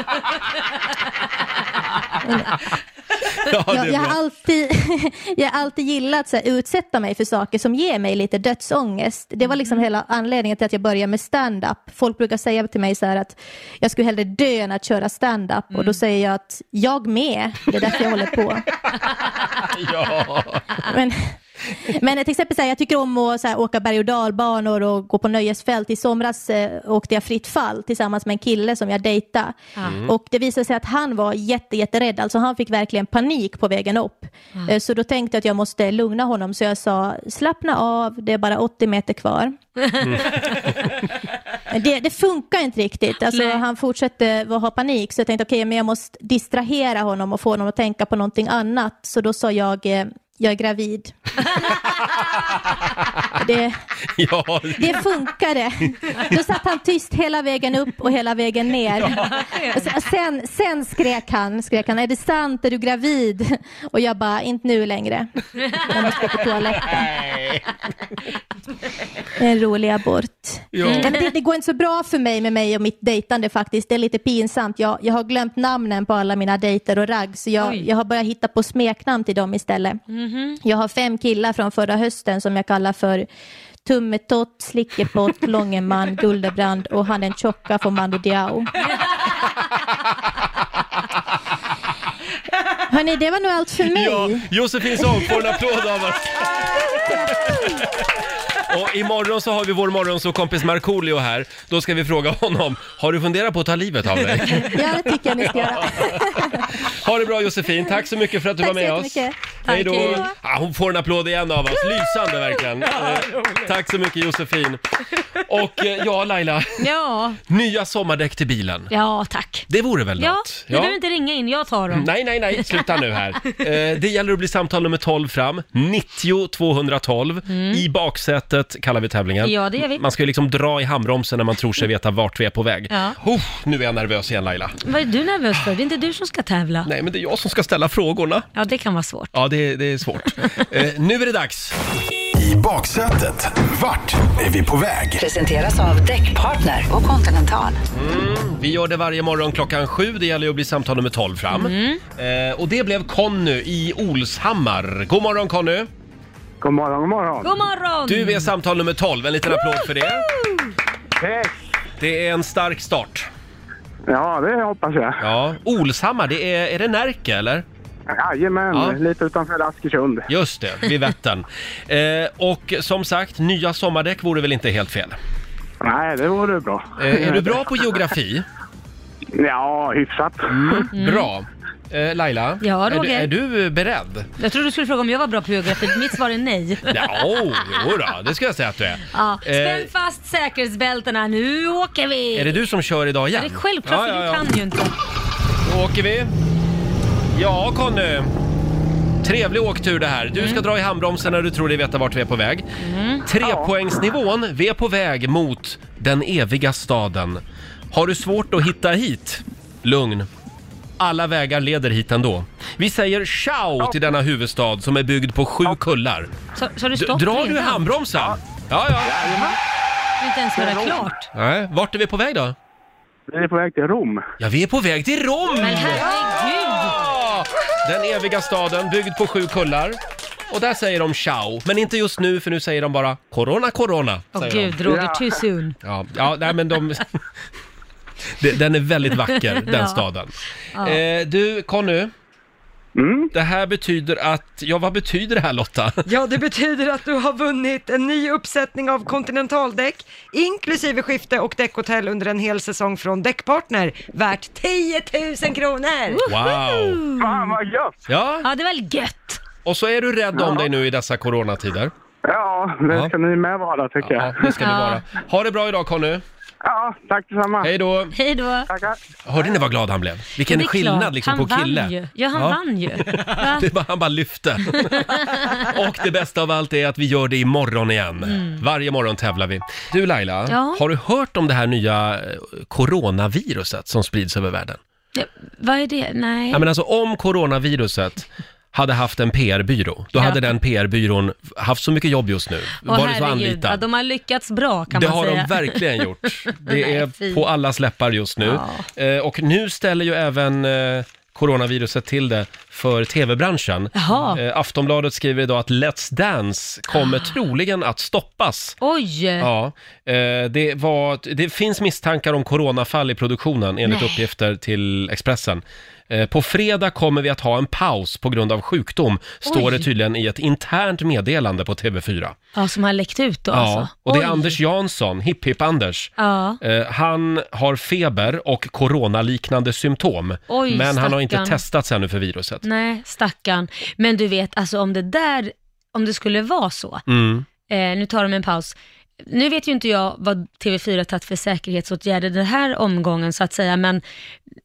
Speaker 1: Ja, det är
Speaker 7: jag, jag,
Speaker 1: bra.
Speaker 7: har alltid, [LAUGHS] jag har alltid gillat att utsätta mig för saker som ger mig lite dödsångest. Det var
Speaker 1: Mm.
Speaker 7: liksom hela anledningen till att jag började med stand-up. Folk brukar säga till mig så här att jag skulle hellre dö än att köra stand-up. Och då
Speaker 1: Mm.
Speaker 7: säger jag att jag med, det är därför jag
Speaker 1: [LAUGHS]
Speaker 7: håller på.
Speaker 1: Ja.
Speaker 7: [LAUGHS] Men, men till exempel så här, jag tycker om att så här, åka berg och dalbanor och gå på nöjesfält. I somras eh, åkte jag fritt fall tillsammans med en kille som jag dejtade. Och det visade sig att han var jätte, jätterädd, alltså han fick verkligen panik på vägen upp. Eh, Så då tänkte jag att jag måste lugna honom, så jag sa slappna av, det är bara 80 meter kvar. Men det, det funkar inte riktigt. Alltså,
Speaker 2: Nej.
Speaker 7: han fortsatte att ha panik så jag tänkte okej, men jag måste distrahera honom och få honom att tänka på någonting annat. Så då sa jag, eh, jag är gravid. det,
Speaker 1: ja,
Speaker 7: det funkade. Då satt han tyst hela vägen upp och hela vägen ner. Och se- Sen, sen skrek, han, skrek han, är det sant, är du gravid? Och jag bara, inte nu längre. Jag måste gå på toaletten. Det är En rolig abort.
Speaker 1: Ja.
Speaker 7: Nej, men det, det går inte så bra för mig med mig och mitt dejtande faktiskt. Det är lite pinsamt. Jag, jag har glömt namnen på alla mina dejter och ragg, så jag,
Speaker 2: Oj.
Speaker 7: jag har börjat hitta på smeknamn till dem istället.
Speaker 1: Mhm.
Speaker 7: Jag har fem killar från förra hösten som jag kallar för Tummetott,
Speaker 1: [LAUGHS]
Speaker 7: Slickepott, Långeman, Guldebrand och han den tjocka från
Speaker 1: [LAUGHS]
Speaker 7: Mando Diao. Hörni, det var nog allt för mig.
Speaker 1: ja. Josefin Song får en applåd av oss. Och imorgon så har vi vår morgonsåkompis Markoolio här. Då ska vi fråga honom, har du funderat på att ta livet av dig?
Speaker 7: Ja, det tycker jag ni ska göra. [LAUGHS]
Speaker 1: Ha det bra Josefin, tack så mycket för att du var
Speaker 7: Tack
Speaker 1: med
Speaker 7: så
Speaker 1: oss.
Speaker 7: jättemycket.
Speaker 1: Hej då.
Speaker 2: Tack, hej då.
Speaker 1: Ja, hon får en applåd igen av oss, lysande verkligen. Eh, Tack så mycket Josefin. Och eh, ja Laila,
Speaker 2: Ja,
Speaker 1: nya sommardäck till bilen.
Speaker 2: ja tack.
Speaker 1: Det vore väl
Speaker 2: Ja,
Speaker 1: något?
Speaker 2: du behöver inte ringa in, jag tar dem.
Speaker 1: Nej, nej, nej, sluta nu
Speaker 2: [LAUGHS]
Speaker 1: här. Eh, det gäller att bli samtal nummer 12 fram, 90 212. I baksätet kallar vi tävlingen.
Speaker 2: Mm. Ja, det gör vi.
Speaker 1: Man ska ju liksom dra i handbromsen när man tror sig veta vart vi är på väg.
Speaker 2: Ja.
Speaker 1: Oh, nu är jag nervös igen Laila.
Speaker 2: Vad är du nervös för? Det är inte du som ska tävla.
Speaker 1: Nej, men det är jag som ska ställa frågorna.
Speaker 2: Ja, det kan vara svårt.
Speaker 1: Ja, det, det är
Speaker 2: [LAUGHS]
Speaker 1: svårt. eh, nu är det dags.
Speaker 4: I baksätet, vart är vi på väg?
Speaker 8: Presenteras av Däckpartner och Continental.
Speaker 1: Vi gör det varje morgon klockan sju. Det gäller ju att bli samtal nummer 12 fram.
Speaker 2: Mm.
Speaker 1: Eh, och det blev Conny i Olshammar. God morgon Conny!
Speaker 9: God morgon, god morgon.
Speaker 2: God morgon!
Speaker 1: Du är samtal nummer 12. En liten applåd för det.
Speaker 9: Tack.
Speaker 1: Det är en stark start.
Speaker 9: Ja, det hoppas jag.
Speaker 1: Ja, Olshammar, det är, är det Närke eller?
Speaker 9: Jajamän,
Speaker 1: Ja.
Speaker 9: lite utanför Askersund.
Speaker 1: Just det, vid
Speaker 9: [LAUGHS]
Speaker 1: Vättern. eh, och som sagt, nya sommardäck vore väl inte helt fel?
Speaker 9: Nej, det vore bra.
Speaker 1: Eh, är du bra på geografi? Mm,
Speaker 9: Ja, hyfsat. Mm.
Speaker 1: Bra. Eh, Laila,
Speaker 2: Ja,
Speaker 1: är, du,
Speaker 2: Roger.
Speaker 1: är du beredd?
Speaker 2: Jag trodde du skulle fråga om jag var bra på geografi. Mitt svar
Speaker 1: [LAUGHS]
Speaker 2: är nej.
Speaker 1: Ja, jo då, det ska jag säga att du är.
Speaker 2: Ja.
Speaker 1: Eh,
Speaker 2: Spänn fast säkerhetsbältena, nu åker vi!
Speaker 1: är det du som kör idag igen?
Speaker 2: Det är självklart, för du kan ju inte.
Speaker 1: Då åker vi. Ja, Conny. Trevlig åktur det här.
Speaker 2: Mm.
Speaker 1: Du ska dra i handbromsen när du tror dig veta vart vi är på väg. Trepoängsnivån. Vi är på väg mot den eviga staden. Har du svårt att hitta hit? Lugn. Alla vägar leder hit ändå. Vi säger ciao till denna huvudstad som är byggd på sju kullar.
Speaker 2: Så, så har du
Speaker 1: D-
Speaker 2: stopp
Speaker 1: drar du i
Speaker 2: redan?
Speaker 1: handbromsen? Ja, ja.
Speaker 2: Det är inte ens vara klart.
Speaker 1: Nej, vart är vi på väg då?
Speaker 9: Vi är på väg till Rom.
Speaker 1: Ja, vi är på väg till Rom!
Speaker 2: Men herregud!
Speaker 1: Ja! Den eviga staden byggd på sju kullar. Och där säger de ciao, men inte just nu för nu säger de bara corona, corona.
Speaker 2: Åh
Speaker 1: säger de.
Speaker 2: gud, Roger,
Speaker 9: Ja.
Speaker 2: too soon.
Speaker 1: Ja, ja nej, men de... [LAUGHS] Det- den är väldigt vacker, den
Speaker 2: [LAUGHS] Ja.
Speaker 1: staden. Eh, du, Conny.
Speaker 9: Mm?
Speaker 1: Det här betyder att, ja vad betyder det här
Speaker 9: [LAUGHS]
Speaker 1: Lotta?
Speaker 3: Ja, det betyder att du har vunnit en ny uppsättning av kontinentaldäck, inklusive skifte och däckhotell under en hel säsong från Däckpartner, värt 10 000 kronor!
Speaker 1: Wow!
Speaker 9: Fan vad gött!
Speaker 1: Ja,
Speaker 2: Ja, det är väl gött?
Speaker 1: och så är du rädd om dig nu i dessa coronatider.
Speaker 9: Ja, det
Speaker 1: Ja.
Speaker 9: ska ni med vara tycker
Speaker 1: Ja,
Speaker 9: jag.
Speaker 1: det ska det
Speaker 2: Ja.
Speaker 9: [LAUGHS]
Speaker 1: vara. Ha det bra idag Conny.
Speaker 9: Ja, tack detsamma.
Speaker 1: Hej då!
Speaker 2: Hej då!
Speaker 9: Tackar.
Speaker 1: Hörde ni vad glad han blev? Vilken
Speaker 2: Det är klart.
Speaker 1: skillnad liksom
Speaker 2: han
Speaker 1: på kille.
Speaker 2: Vann ju. Ja, han
Speaker 1: Ja.
Speaker 2: vann ju. Va?
Speaker 1: [LAUGHS] Det är bara, han bara
Speaker 2: [LAUGHS]
Speaker 1: lyfte. och det bästa av allt är att vi gör det imorgon igen. Varje morgon tävlar vi. Du Laila,
Speaker 2: Mm. Ja.
Speaker 1: har du hört om det här nya eh, coronaviruset som sprids över världen?
Speaker 2: Ja, vad är det? Nej.
Speaker 1: Ja, men alltså om coronaviruset hade haft en PR-byrå, då
Speaker 2: Ja.
Speaker 1: hade den PR-byrån haft så mycket jobb just nu.
Speaker 2: Åh,
Speaker 1: varit så
Speaker 2: herregud. Ja,
Speaker 1: anlitad.
Speaker 2: de har lyckats bra kan
Speaker 1: det
Speaker 2: man
Speaker 1: har
Speaker 2: säga.
Speaker 1: de verkligen
Speaker 2: [LAUGHS]
Speaker 1: gjort. Det
Speaker 2: Nej,
Speaker 1: är
Speaker 2: fy.
Speaker 1: på alla släppar just nu. Eh, och nu ställer ju även eh, coronaviruset till det för tv-branschen.
Speaker 2: Jaha. Ah.
Speaker 1: Eh, Aftonbladet skriver idag att Let's Dance kommer troligen att stoppas.
Speaker 2: Oj!
Speaker 1: Ja, eh, det, var, det finns misstankar om coronafall i produktionen enligt
Speaker 2: Nej.
Speaker 1: uppgifter till Expressen. Eh, På fredag kommer vi att ha en paus på grund av sjukdom, står
Speaker 2: Oj.
Speaker 1: det tydligen i ett internt meddelande på TV4.
Speaker 2: Ja, som har läckt ut då
Speaker 1: Ja,
Speaker 2: alltså.
Speaker 1: och det är
Speaker 2: Oj.
Speaker 1: Anders Jansson, Hipp Hipp Anders.
Speaker 2: Ja.
Speaker 1: Eh, Han har feber och coronaliknande symptom,
Speaker 2: Oj,
Speaker 1: men han har inte
Speaker 2: stackarn.
Speaker 1: testats ännu för viruset.
Speaker 2: Nej, stackarn. Men du vet, alltså om det där, om det skulle vara så,
Speaker 1: Mm.
Speaker 2: eh, nu tar de en paus. Nu vet ju inte jag vad TV4 tagit för säkerhetsåtgärder den här omgången så att säga, men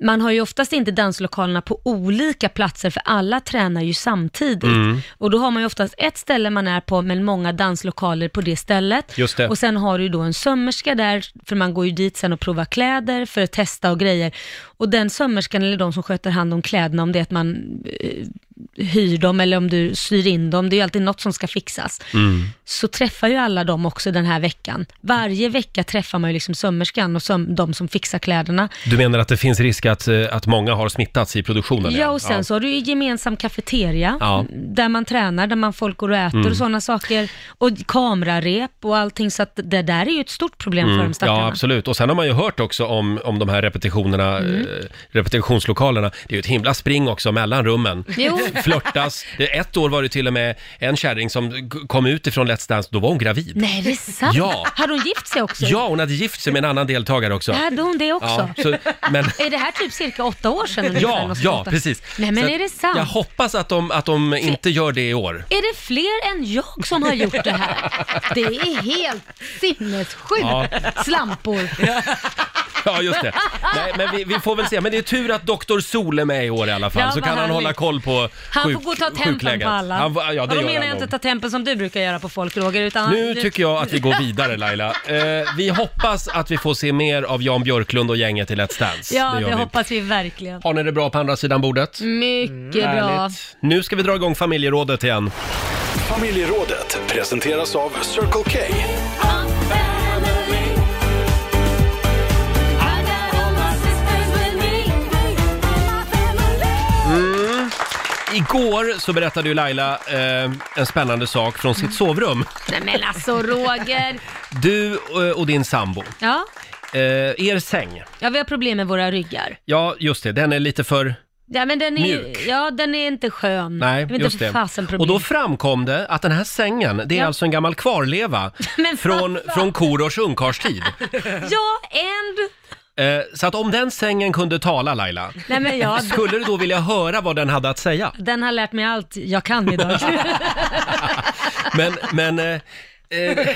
Speaker 2: man har ju oftast inte danslokalerna på olika platser för alla tränar ju samtidigt.
Speaker 1: Mm.
Speaker 2: Och då har man ju oftast ett ställe man är på men många danslokaler på det stället.
Speaker 1: Just det.
Speaker 2: Och sen har du ju då en sömmerska där, för man går ju dit sen och provar kläder för att testa och grejer. Och den sömmerskan eller de som sköter hand om kläderna, om det är att man eh, hyr dem eller om du syr in dem, det är ju alltid något som ska fixas.
Speaker 1: Mm.
Speaker 2: Så träffar ju alla dem också den här veckan. Varje vecka träffar man ju liksom sömmerskan och söm- de som fixar kläderna.
Speaker 1: Du menar att det finns risk att, eh, att många har smittats i produktionen?
Speaker 2: Ja, och sen så har du ju gemensam kafeteria,
Speaker 1: Ja. Mm.
Speaker 2: där man tränar, där man folk går och äter och sådana saker. Och kamerarep och allting, så att det där är ju ett stort problem för de stackarna.
Speaker 1: Mm. Ja, absolut. Och sen har man ju hört också om, om de här repetitionerna,
Speaker 2: Mm.
Speaker 1: eh, repetitionslokalerna. Det är ju ett himla spring också mellan rummen.
Speaker 2: Jo.
Speaker 1: [LAUGHS] Flörtas. Det- Ett år var det till och med en kärring som g- kom ut ifrån Let's Dance, då var hon gravid.
Speaker 2: Nej, det är sant?
Speaker 1: Ja.
Speaker 2: Hade hon gift sig också?
Speaker 1: Ja, hon hade gift sig med en annan deltagare också.
Speaker 2: Hade hon det också?
Speaker 1: Ja, så,
Speaker 2: [LAUGHS]
Speaker 1: men,
Speaker 2: Är det här typ cirka åtta år sedan? ungefär,
Speaker 1: ja,
Speaker 2: något
Speaker 1: ja,
Speaker 2: sånt där?
Speaker 1: precis.
Speaker 2: Nej, men
Speaker 1: Så att
Speaker 2: är det sant?
Speaker 1: Jag hoppas att de, att de inte gör det i år.
Speaker 2: Är det fler än jag som har gjort det här? Det är helt sinnessjukt!
Speaker 1: Ja.
Speaker 2: Slampor.
Speaker 1: Ja, just det. Nej, men vi, vi får väl se. Men det är tur att Dr. Sol är med i år i alla fall,
Speaker 2: Ja,
Speaker 1: så
Speaker 2: vad
Speaker 1: kan han
Speaker 2: härligt.
Speaker 1: hålla koll på
Speaker 2: Han
Speaker 1: sjuk,
Speaker 2: får gå och ta tempen
Speaker 1: sjukläget.
Speaker 2: på alla.
Speaker 1: Han, får- ja, det
Speaker 2: och då
Speaker 1: gör
Speaker 2: menar
Speaker 1: han
Speaker 2: jag inte
Speaker 1: nog.
Speaker 2: ta tempen som du brukar göra på folk, Roger, utan
Speaker 1: Nu
Speaker 2: du...
Speaker 1: tycker jag att vi går vidare Laila. Eh, vi hoppas att vi får se mer av Jan Björklund och gänget i Let's Dance.
Speaker 2: Ja,
Speaker 1: gör
Speaker 2: det,
Speaker 1: vi.
Speaker 2: hoppas vi verkligen.
Speaker 1: Har ni det bra på andra sidan bordet?
Speaker 2: Mycket bra.
Speaker 1: Mm. Härligt. Nu ska vi dra igång familjerådet igen.
Speaker 4: Familjerådet presenteras av Circle K.
Speaker 1: Igår så berättade ju Laila eh, en spännande sak från sitt sovrum.
Speaker 2: Nej men alltså Roger.
Speaker 1: Du eh, och din sambo,
Speaker 2: Ja.
Speaker 1: eh, er säng.
Speaker 2: ja, vi har problem med våra ryggar.
Speaker 1: Ja, just det, den är lite för...
Speaker 2: Ja, men den är,
Speaker 1: Mjuk.
Speaker 2: Ja, den är inte skön.
Speaker 1: Nej,
Speaker 2: jag vet
Speaker 1: just
Speaker 2: inte
Speaker 1: det.
Speaker 2: för fasen problem.
Speaker 1: Och då framkom det att den här sängen, det är
Speaker 2: Ja.
Speaker 1: alltså en gammal kvarleva
Speaker 2: [LAUGHS] Men
Speaker 1: från,
Speaker 2: pappa!
Speaker 1: från Korosh ungkarlstid.
Speaker 2: Ja, and...
Speaker 1: Eh, så att om den sängen kunde tala Laila,
Speaker 2: Nej men ja, d-
Speaker 1: Skulle du då vilja höra vad den hade att säga?
Speaker 2: den har lärt mig allt jag
Speaker 1: [LAUGHS]
Speaker 2: kan idag.
Speaker 1: Men, men eh, eh,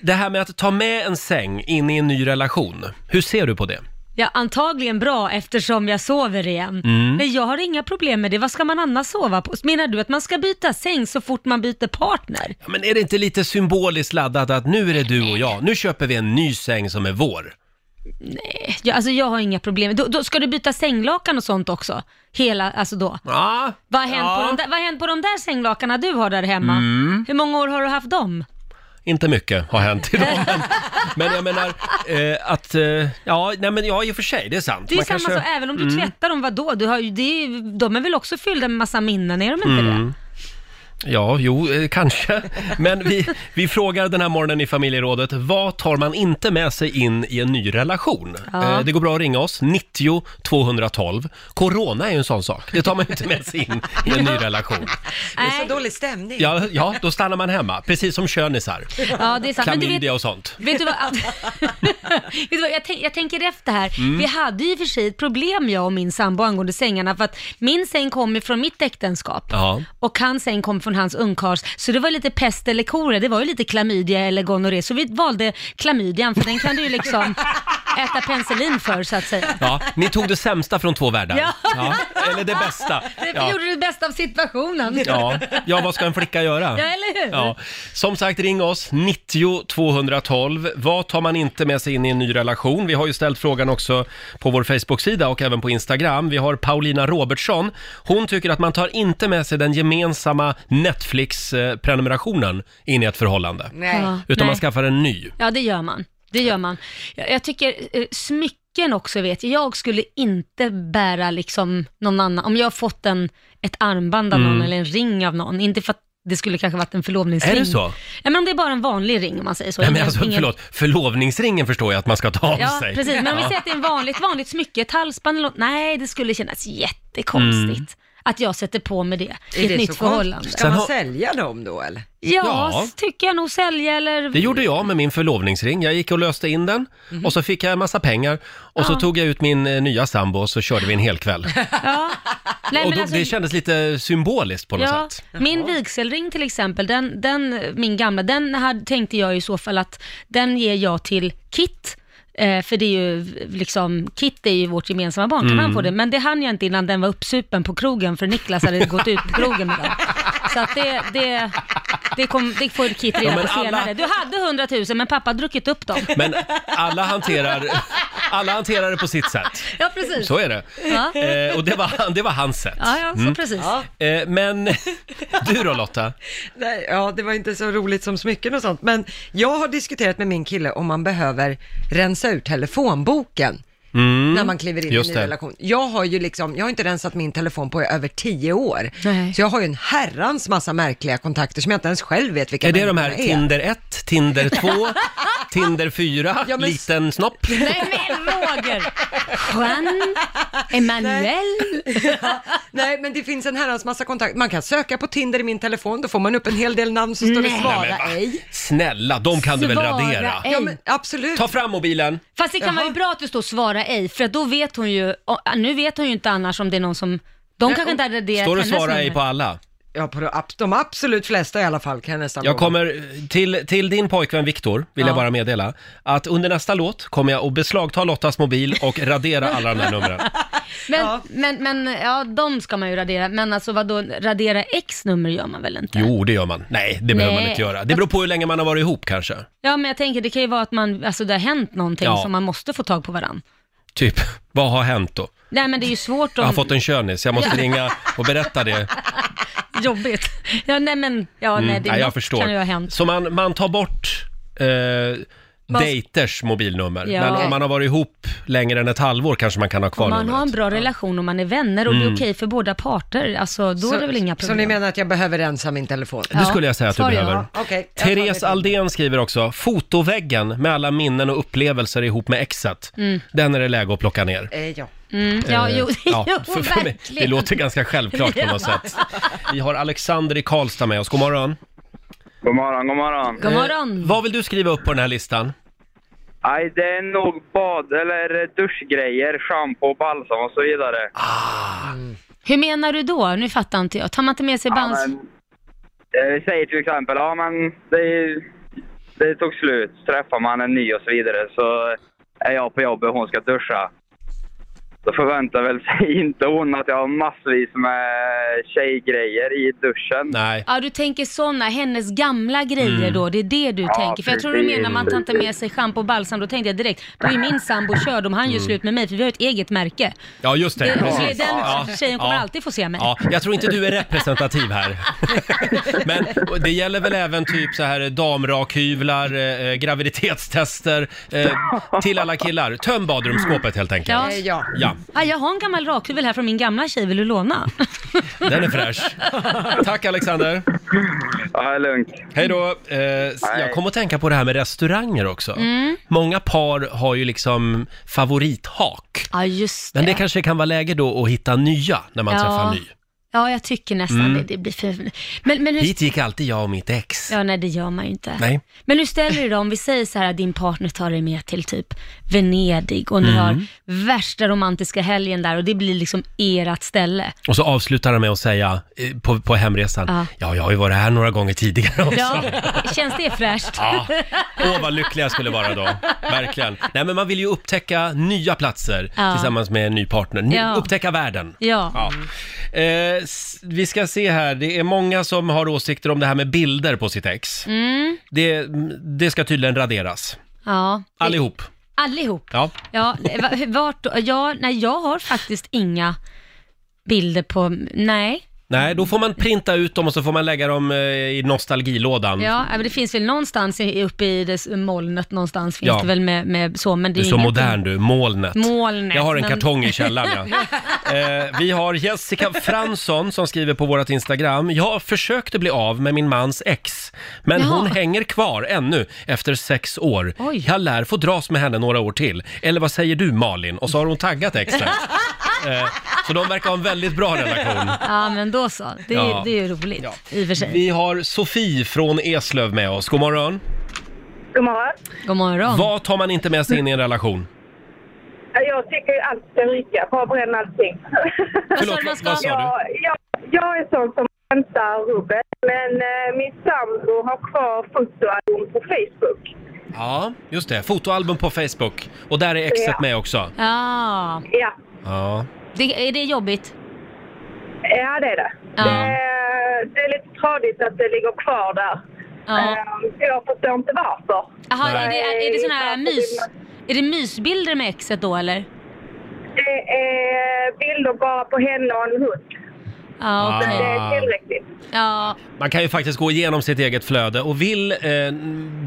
Speaker 1: det här med att ta med en säng in i en ny relation, hur ser du på det?
Speaker 2: Ja, antagligen bra eftersom jag sover igen.
Speaker 1: Mm.
Speaker 2: Men jag har inga problem med det. Vad ska man annars sova på? Menar du att man ska byta säng så fort man byter partner?
Speaker 1: Ja, Men är det inte lite symboliskt laddat att nu är det du och jag, nu köper vi en ny säng som är vår?
Speaker 2: Ja, alltså jag har inga problem. Då, då ska du byta sänglakan och sånt också? Hela, alltså då.
Speaker 1: Ja,
Speaker 2: Vad har hänt,
Speaker 1: Ja. Mm.
Speaker 2: på, de där, vad har hänt på de där sänglakanen du har där hemma? Hur många år har du haft dem?
Speaker 1: inte mycket har hänt
Speaker 2: [LAUGHS]
Speaker 1: idag. Men, men jag menar eh, att, eh, ja, nej men ja i och för sig, det är sant.
Speaker 2: Det är ju
Speaker 1: Man
Speaker 2: samma
Speaker 1: kanske- Mm.
Speaker 2: sak, även om du tvättar dem, vadå? Du har, ju- det är, ju- de är väl också fyllda med massa minnen, är de inte
Speaker 1: Mm.
Speaker 2: det?
Speaker 1: Ja, jo, eh, kanske. Men vi, vi frågar den här morgonen i familjerådet, vad tar man inte med sig in i en ny relation?
Speaker 2: Ja.
Speaker 1: Eh, Det går bra att ringa oss, 90 212. Corona är ju en sån sak, det tar man ju inte med sig in i en ny relation.
Speaker 3: Det är
Speaker 2: Nej.
Speaker 3: så dålig stämning.
Speaker 1: Ja, ja då stannar man hemma, precis som könisar,
Speaker 2: Ja, det är sant. Men du vet,
Speaker 1: klamydia och sånt.
Speaker 2: Vet du vad, [LAUGHS] vet du vad jag, tänk, jag tänker efter här.
Speaker 1: Mm.
Speaker 2: Vi hade ju i och för sig ett problem jag och min sambo angående sängarna för att min säng kom ju från mitt äktenskap
Speaker 1: Ja.
Speaker 2: och hans säng kom från hans ungkarls. Så det var lite
Speaker 1: [LAUGHS]
Speaker 2: pest eller kolera, det var ju lite klamydia eller gonorré. Så vi valde klamydian för den kan du ju liksom äta penicillin för så att säga.
Speaker 1: Ja, ni tog det sämsta från två världar.
Speaker 2: Ja.
Speaker 1: Eller det bästa.
Speaker 2: Det
Speaker 1: Ja.
Speaker 2: gjorde det bästa av situationen.
Speaker 1: Ja. ja, vad ska en flicka göra?
Speaker 2: Ja, eller hur?
Speaker 1: Ja. Som sagt, ring oss, 90 212. Vad tar man inte med sig in i en ny relation? Vi har ju ställt frågan också på vår Facebook-sida och även på Instagram. Vi har Paulina Robertsson. Hon tycker att man tar inte med sig den gemensamma Netflix-prenumerationen in i ett förhållande.
Speaker 3: Nej.
Speaker 2: Ja,
Speaker 1: Utan man
Speaker 2: nej.
Speaker 1: skaffar en ny.
Speaker 2: Ja, det gör man. Det gör man. Jag, jag tycker eh, smycken också vet jag. Jag skulle inte bära liksom någon annan, om jag har fått en, ett armband av någon eller en ring av någon, inte för att det skulle kanske varit en förlovningsring.
Speaker 1: Mm. Är det så?
Speaker 2: Ja, men om det är bara en vanlig ring om man säger så.
Speaker 1: Nej, men
Speaker 2: Ingen-
Speaker 1: alltså,
Speaker 2: ingen-
Speaker 1: förlåt. Förlovningsringen förstår jag att man ska ta av
Speaker 2: Ja,
Speaker 1: sig.
Speaker 2: precis. Men om vi
Speaker 1: Ja.
Speaker 2: säger att det är en vanligt, vanligt smycke, ett halsband eller något, nej, det skulle kännas jättekonstigt.
Speaker 1: Mm.
Speaker 2: Att jag sätter på mig det i ett
Speaker 3: det
Speaker 2: nytt
Speaker 3: så
Speaker 2: förhållande.
Speaker 3: konstigt?
Speaker 1: Sen
Speaker 3: Ska man
Speaker 1: har-
Speaker 3: sälja dem då eller?
Speaker 2: Ja,
Speaker 1: Ja.
Speaker 2: s- tycker jag nog sälja eller...
Speaker 1: Det gjorde jag med min förlovningsring. Jag gick och löste in den och så fick jag en massa pengar och så
Speaker 2: Mhm. Ja.
Speaker 1: tog jag ut min eh, nya sambo och så körde vi en hel
Speaker 2: [LAUGHS]
Speaker 1: kväll.
Speaker 2: Ja. Nej,
Speaker 1: och
Speaker 2: men
Speaker 1: då,
Speaker 2: alltså-
Speaker 1: det kändes lite symboliskt på något
Speaker 2: Ja,
Speaker 1: sätt.
Speaker 2: min vigselring till exempel, den, den, min gamla, den hade, tänkte jag i så fall att den ger jag till Kit. Eh, för det är ju liksom, Kit är ju vårt gemensamma barn, kan
Speaker 1: Mm.
Speaker 2: han få det? Men det hann jag inte innan den var uppsupen på krogen, för Niklas hade gått ut på krogen med den. Så att det, det, det, kom, det får Kit reda
Speaker 1: Ja, men
Speaker 2: på senare.
Speaker 1: alla-
Speaker 2: Du hade 100 000 men pappa hade druckit upp dem.
Speaker 1: Men alla hanterar,
Speaker 2: [LAUGHS]
Speaker 1: alla hanterar det på sitt sätt.
Speaker 2: Ja, precis.
Speaker 1: Så är det.
Speaker 2: Ja, ja,
Speaker 1: Eh, och det var, det var hans sätt.
Speaker 2: ja så precis.
Speaker 1: Eh,
Speaker 2: [LAUGHS]
Speaker 1: men du då Lotta?
Speaker 3: Nej, ja, det var inte så roligt som smycken och sånt, men jag har diskuterat med min kille om man behöver rensa ur telefonboken när man kliver in i
Speaker 1: Mm. just
Speaker 3: en ny
Speaker 1: det.
Speaker 3: relation. Jag har ju liksom, jag har inte rensat min telefon på över tio år,
Speaker 2: Nej.
Speaker 3: så jag har ju en herrans massa märkliga kontakter som jag inte ens själv vet vilka
Speaker 1: Är det de här
Speaker 3: människorna är.
Speaker 1: Tinder 1, Tinder
Speaker 2: [LAUGHS]
Speaker 1: 2, Tinder 4,
Speaker 3: Ja, men-
Speaker 1: liten snopp?
Speaker 2: Nej men Roger! Juan, Emanuel.
Speaker 3: Nej, men det finns en herrans massa kontakter. Man kan söka på Tinder i min telefon, då får man upp en hel del namn så står det
Speaker 2: Nej.
Speaker 1: Nej,
Speaker 3: svara
Speaker 1: men Eh, va?
Speaker 3: ej.
Speaker 1: Snälla, de kan du väl
Speaker 2: Svara
Speaker 1: radera?
Speaker 2: ej.
Speaker 3: Ja, men absolut.
Speaker 1: Ta fram mobilen.
Speaker 2: Fast det kan vara bra att det står svara ej, för att då vet hon ju, och, ah, nu vet hon ju inte annars om det är någon som, de kanske inte hade det
Speaker 1: Står och svarar ej på alla.
Speaker 3: Ja, på de, ab- de absolut flesta i alla fall kan jag nästan
Speaker 1: Jag
Speaker 3: lova.
Speaker 1: kommer eh, till, till din pojkvän Viktor, vill jag bara meddela, att under nästa låt kommer jag att beslagta Lottas mobil och radera alla de här
Speaker 2: [LAUGHS]
Speaker 1: numren.
Speaker 2: Men, men, men, ja de ska man ju radera, men alltså vadå, radera X nummer gör man väl inte?
Speaker 1: Jo, det gör man. Nej, det behöver
Speaker 2: Nej.
Speaker 1: man inte göra. Det beror på hur länge man har varit ihop kanske.
Speaker 2: Ja men jag tänker det kan ju vara att man, alltså det har hänt någonting
Speaker 1: Ja.
Speaker 2: som man måste få tag på varann.
Speaker 1: Typ, vad har hänt då?
Speaker 2: Nej men det är ju svårt
Speaker 1: Jag har
Speaker 2: om,
Speaker 1: fått en könis, jag måste ringa och berätta
Speaker 2: [LAUGHS]
Speaker 1: det. Mm,
Speaker 2: jobbigt. Ja nej men, ja nej det
Speaker 1: Nej, jag
Speaker 2: något
Speaker 1: förstår.
Speaker 2: kan ju ha hänt.
Speaker 1: Så man, man tar bort eh, dejters mobilnummer,
Speaker 2: Ja.
Speaker 1: men om man har varit ihop längre än ett halvår kanske man kan ha kvar
Speaker 2: Om man
Speaker 1: numret.
Speaker 2: har en bra relation och man är vänner och
Speaker 1: Mm.
Speaker 2: det är okej för båda parter, alltså då är det väl inga
Speaker 3: Så
Speaker 2: problem.
Speaker 3: ni menar att jag behöver rensa min telefon?
Speaker 1: Det skulle jag säga att du
Speaker 2: Svar ja.
Speaker 1: behöver.
Speaker 3: Okej. jag tar det
Speaker 1: Therese
Speaker 3: till.
Speaker 1: Aldén skriver också, fotoväggen med alla minnen och upplevelser ihop med exet, den är det läge att plocka ner.
Speaker 3: Eh, ja.
Speaker 2: Mm, ja,
Speaker 1: Eh,
Speaker 2: jo, [LAUGHS] jo
Speaker 1: för- för mig-
Speaker 2: verkligen.
Speaker 1: det låter ganska självklart på något
Speaker 2: [LAUGHS] Ja.
Speaker 1: sätt. Vi har Alexander i Karlstad med oss, god morgon.
Speaker 9: God morgon, god morgon.
Speaker 2: God morgon.
Speaker 1: Vad vill du skriva upp på den här listan?
Speaker 9: Nej, det är nog bad eller duschgrejer, schampo, balsam och så vidare.
Speaker 2: Hur menar du då? Nu fattar inte jag. Tar man inte med sig
Speaker 9: Ja,
Speaker 2: bands...
Speaker 9: men, eh, vi säger till exempel, ja men det, det tog slut, Så träffar man en ny och så vidare så är jag på jobbet och hon ska duscha. Då förväntar väl sig [LAUGHS] inte hon att jag har massvis med tjejgrejer i duschen.
Speaker 1: Nej.
Speaker 2: Ja, du tänker sådana, hennes gamla grejer
Speaker 1: Mm.
Speaker 2: då, det är det du tänker. För jag tror du
Speaker 9: precis,
Speaker 2: menar man tar inte med sig schampo och balsam, då tänkte jag direkt, då är min sambo körd om han gör slut med mig, för vi har ett eget märke.
Speaker 1: Mm. Ja, just det.
Speaker 2: Det, det,
Speaker 1: precis.
Speaker 2: den
Speaker 1: Ja,
Speaker 2: tjejen kommer
Speaker 1: ja.
Speaker 2: alltid få se mig.
Speaker 1: Ja, jag tror inte du är representativ
Speaker 2: [LAUGHS]
Speaker 1: här. Men det gäller väl även typ så här damrakhyvlar, eh, graviditetstester eh, till alla killar. Töm badrumsskåpet helt enkelt.
Speaker 2: Ja.
Speaker 3: Eh, ja.
Speaker 1: Ja,
Speaker 2: Ah, jag har en gammal rakhyvel här från min gamla tjej, vill du låna?
Speaker 1: den är fräsch. Tack Alexander.
Speaker 9: Ja, det är lugnt.
Speaker 1: Hej då. Eh, jag kom att tänka på det här med restauranger också.
Speaker 2: Mm.
Speaker 1: Många par har ju liksom favorithak.
Speaker 2: [LAUGHS] Ja, just det.
Speaker 1: Men det kanske kan vara läge då att hitta nya när man
Speaker 2: Ja.
Speaker 1: träffar ny.
Speaker 2: Ja, jag tycker nästan
Speaker 1: Mm.
Speaker 2: det. Det blir för... Men, men hur...
Speaker 1: Hit gick alltid jag och mitt ex.
Speaker 2: Ja, nej det gör man ju inte.
Speaker 1: Nej.
Speaker 2: Men hur ställer du dig då? om vi säger så här att din partner tar dig med till typ Venedig och ni
Speaker 1: Mm.
Speaker 2: har värsta romantiska helgen där och det blir liksom ert ställe.
Speaker 1: Och så avslutar han med att säga eh, på, på hemresan,
Speaker 2: Ja.
Speaker 1: ja jag har ju varit här några gånger tidigare också.
Speaker 2: Ja, [LAUGHS] känns det fräscht?
Speaker 1: Ja. Åh, vad lycklig jag skulle vara då. Verkligen. Nej, men man vill ju upptäcka nya platser
Speaker 2: Ja.
Speaker 1: tillsammans med en ny partner. Ny,
Speaker 2: Ja.
Speaker 1: Upptäcka världen.
Speaker 2: Ja.
Speaker 1: Ja. Eh, s- vi ska se här, det är många som har åsikter om det här med bilder på sitt ex.
Speaker 2: Mm,
Speaker 1: Det, det ska tydligen raderas.
Speaker 2: ja.
Speaker 1: Allihop.
Speaker 2: Allihop.
Speaker 1: Ja.
Speaker 2: Ja, va- vart då? ja, nej jag har faktiskt inga bilder på, nej.
Speaker 1: Nej, då får man printa ut dem och så får man lägga dem eh, i nostalgilådan.
Speaker 2: Ja, men det finns väl någonstans i- uppe i det s- molnet någonstans finns
Speaker 1: Ja.
Speaker 2: det väl med, med så, men det
Speaker 1: Du
Speaker 2: är,
Speaker 1: är så
Speaker 2: ingenting-
Speaker 1: modern du, molnet.
Speaker 2: Molnet.
Speaker 1: Jag har en
Speaker 2: men-
Speaker 1: kartong i källaren. Ja.
Speaker 2: [LAUGHS]
Speaker 1: Eh, vi har Jessica Fransson som skriver på vårt Instagram. Jag försökte bli av med min mans ex, men
Speaker 2: Jaha.
Speaker 1: hon hänger kvar ännu efter sex år.
Speaker 2: Oj.
Speaker 1: Jag lär få dras med henne några år till. Eller vad säger du Malin? Och så har hon taggat
Speaker 2: [LAUGHS]
Speaker 1: exet. eh, så de verkar ha en väldigt bra
Speaker 2: [LAUGHS]
Speaker 1: relation.
Speaker 2: Ja, men då så. Det, är-
Speaker 1: Ja.
Speaker 2: det är ju roligt
Speaker 1: Ja.
Speaker 2: i och för sig.
Speaker 1: Vi har Sofie från Eslöv med oss. God morgon.
Speaker 10: God morgon.
Speaker 2: God morgon.
Speaker 1: Vad tar man inte med sig in i en relation?
Speaker 10: Ja, Jag tycker allt ska ryka. Bara bränn allting. [LAUGHS]
Speaker 1: Förlåt,
Speaker 2: Alltså,
Speaker 1: vad- vad sa du?
Speaker 10: Jag, jag, jag är sån som hämtar rubbet. Men eh, min sambo har kvar fotoalbum på Facebook.
Speaker 1: Ja, just det. Fotoalbum på Facebook. Och där är exet
Speaker 10: Ja.
Speaker 1: med också.
Speaker 2: Ja,
Speaker 10: Ja,
Speaker 1: Ja.
Speaker 2: det, är det jobbigt?
Speaker 10: ja det är det.
Speaker 2: Ja.
Speaker 10: Eh, det är lite tradigt att det ligger kvar där.
Speaker 2: Ja.
Speaker 10: Eh, jag förstår inte varför.
Speaker 2: Jaha, är det, är det såna här
Speaker 10: Nej.
Speaker 2: mys... Är det mysbilder med exet då eller?
Speaker 10: Det är bilder bara på henne och en hund.
Speaker 2: Ja, okej.
Speaker 10: Det är
Speaker 1: Ah.
Speaker 10: tillräckligt.
Speaker 2: Ja,
Speaker 1: Man kan ju faktiskt gå igenom sitt eget flöde och vill eh,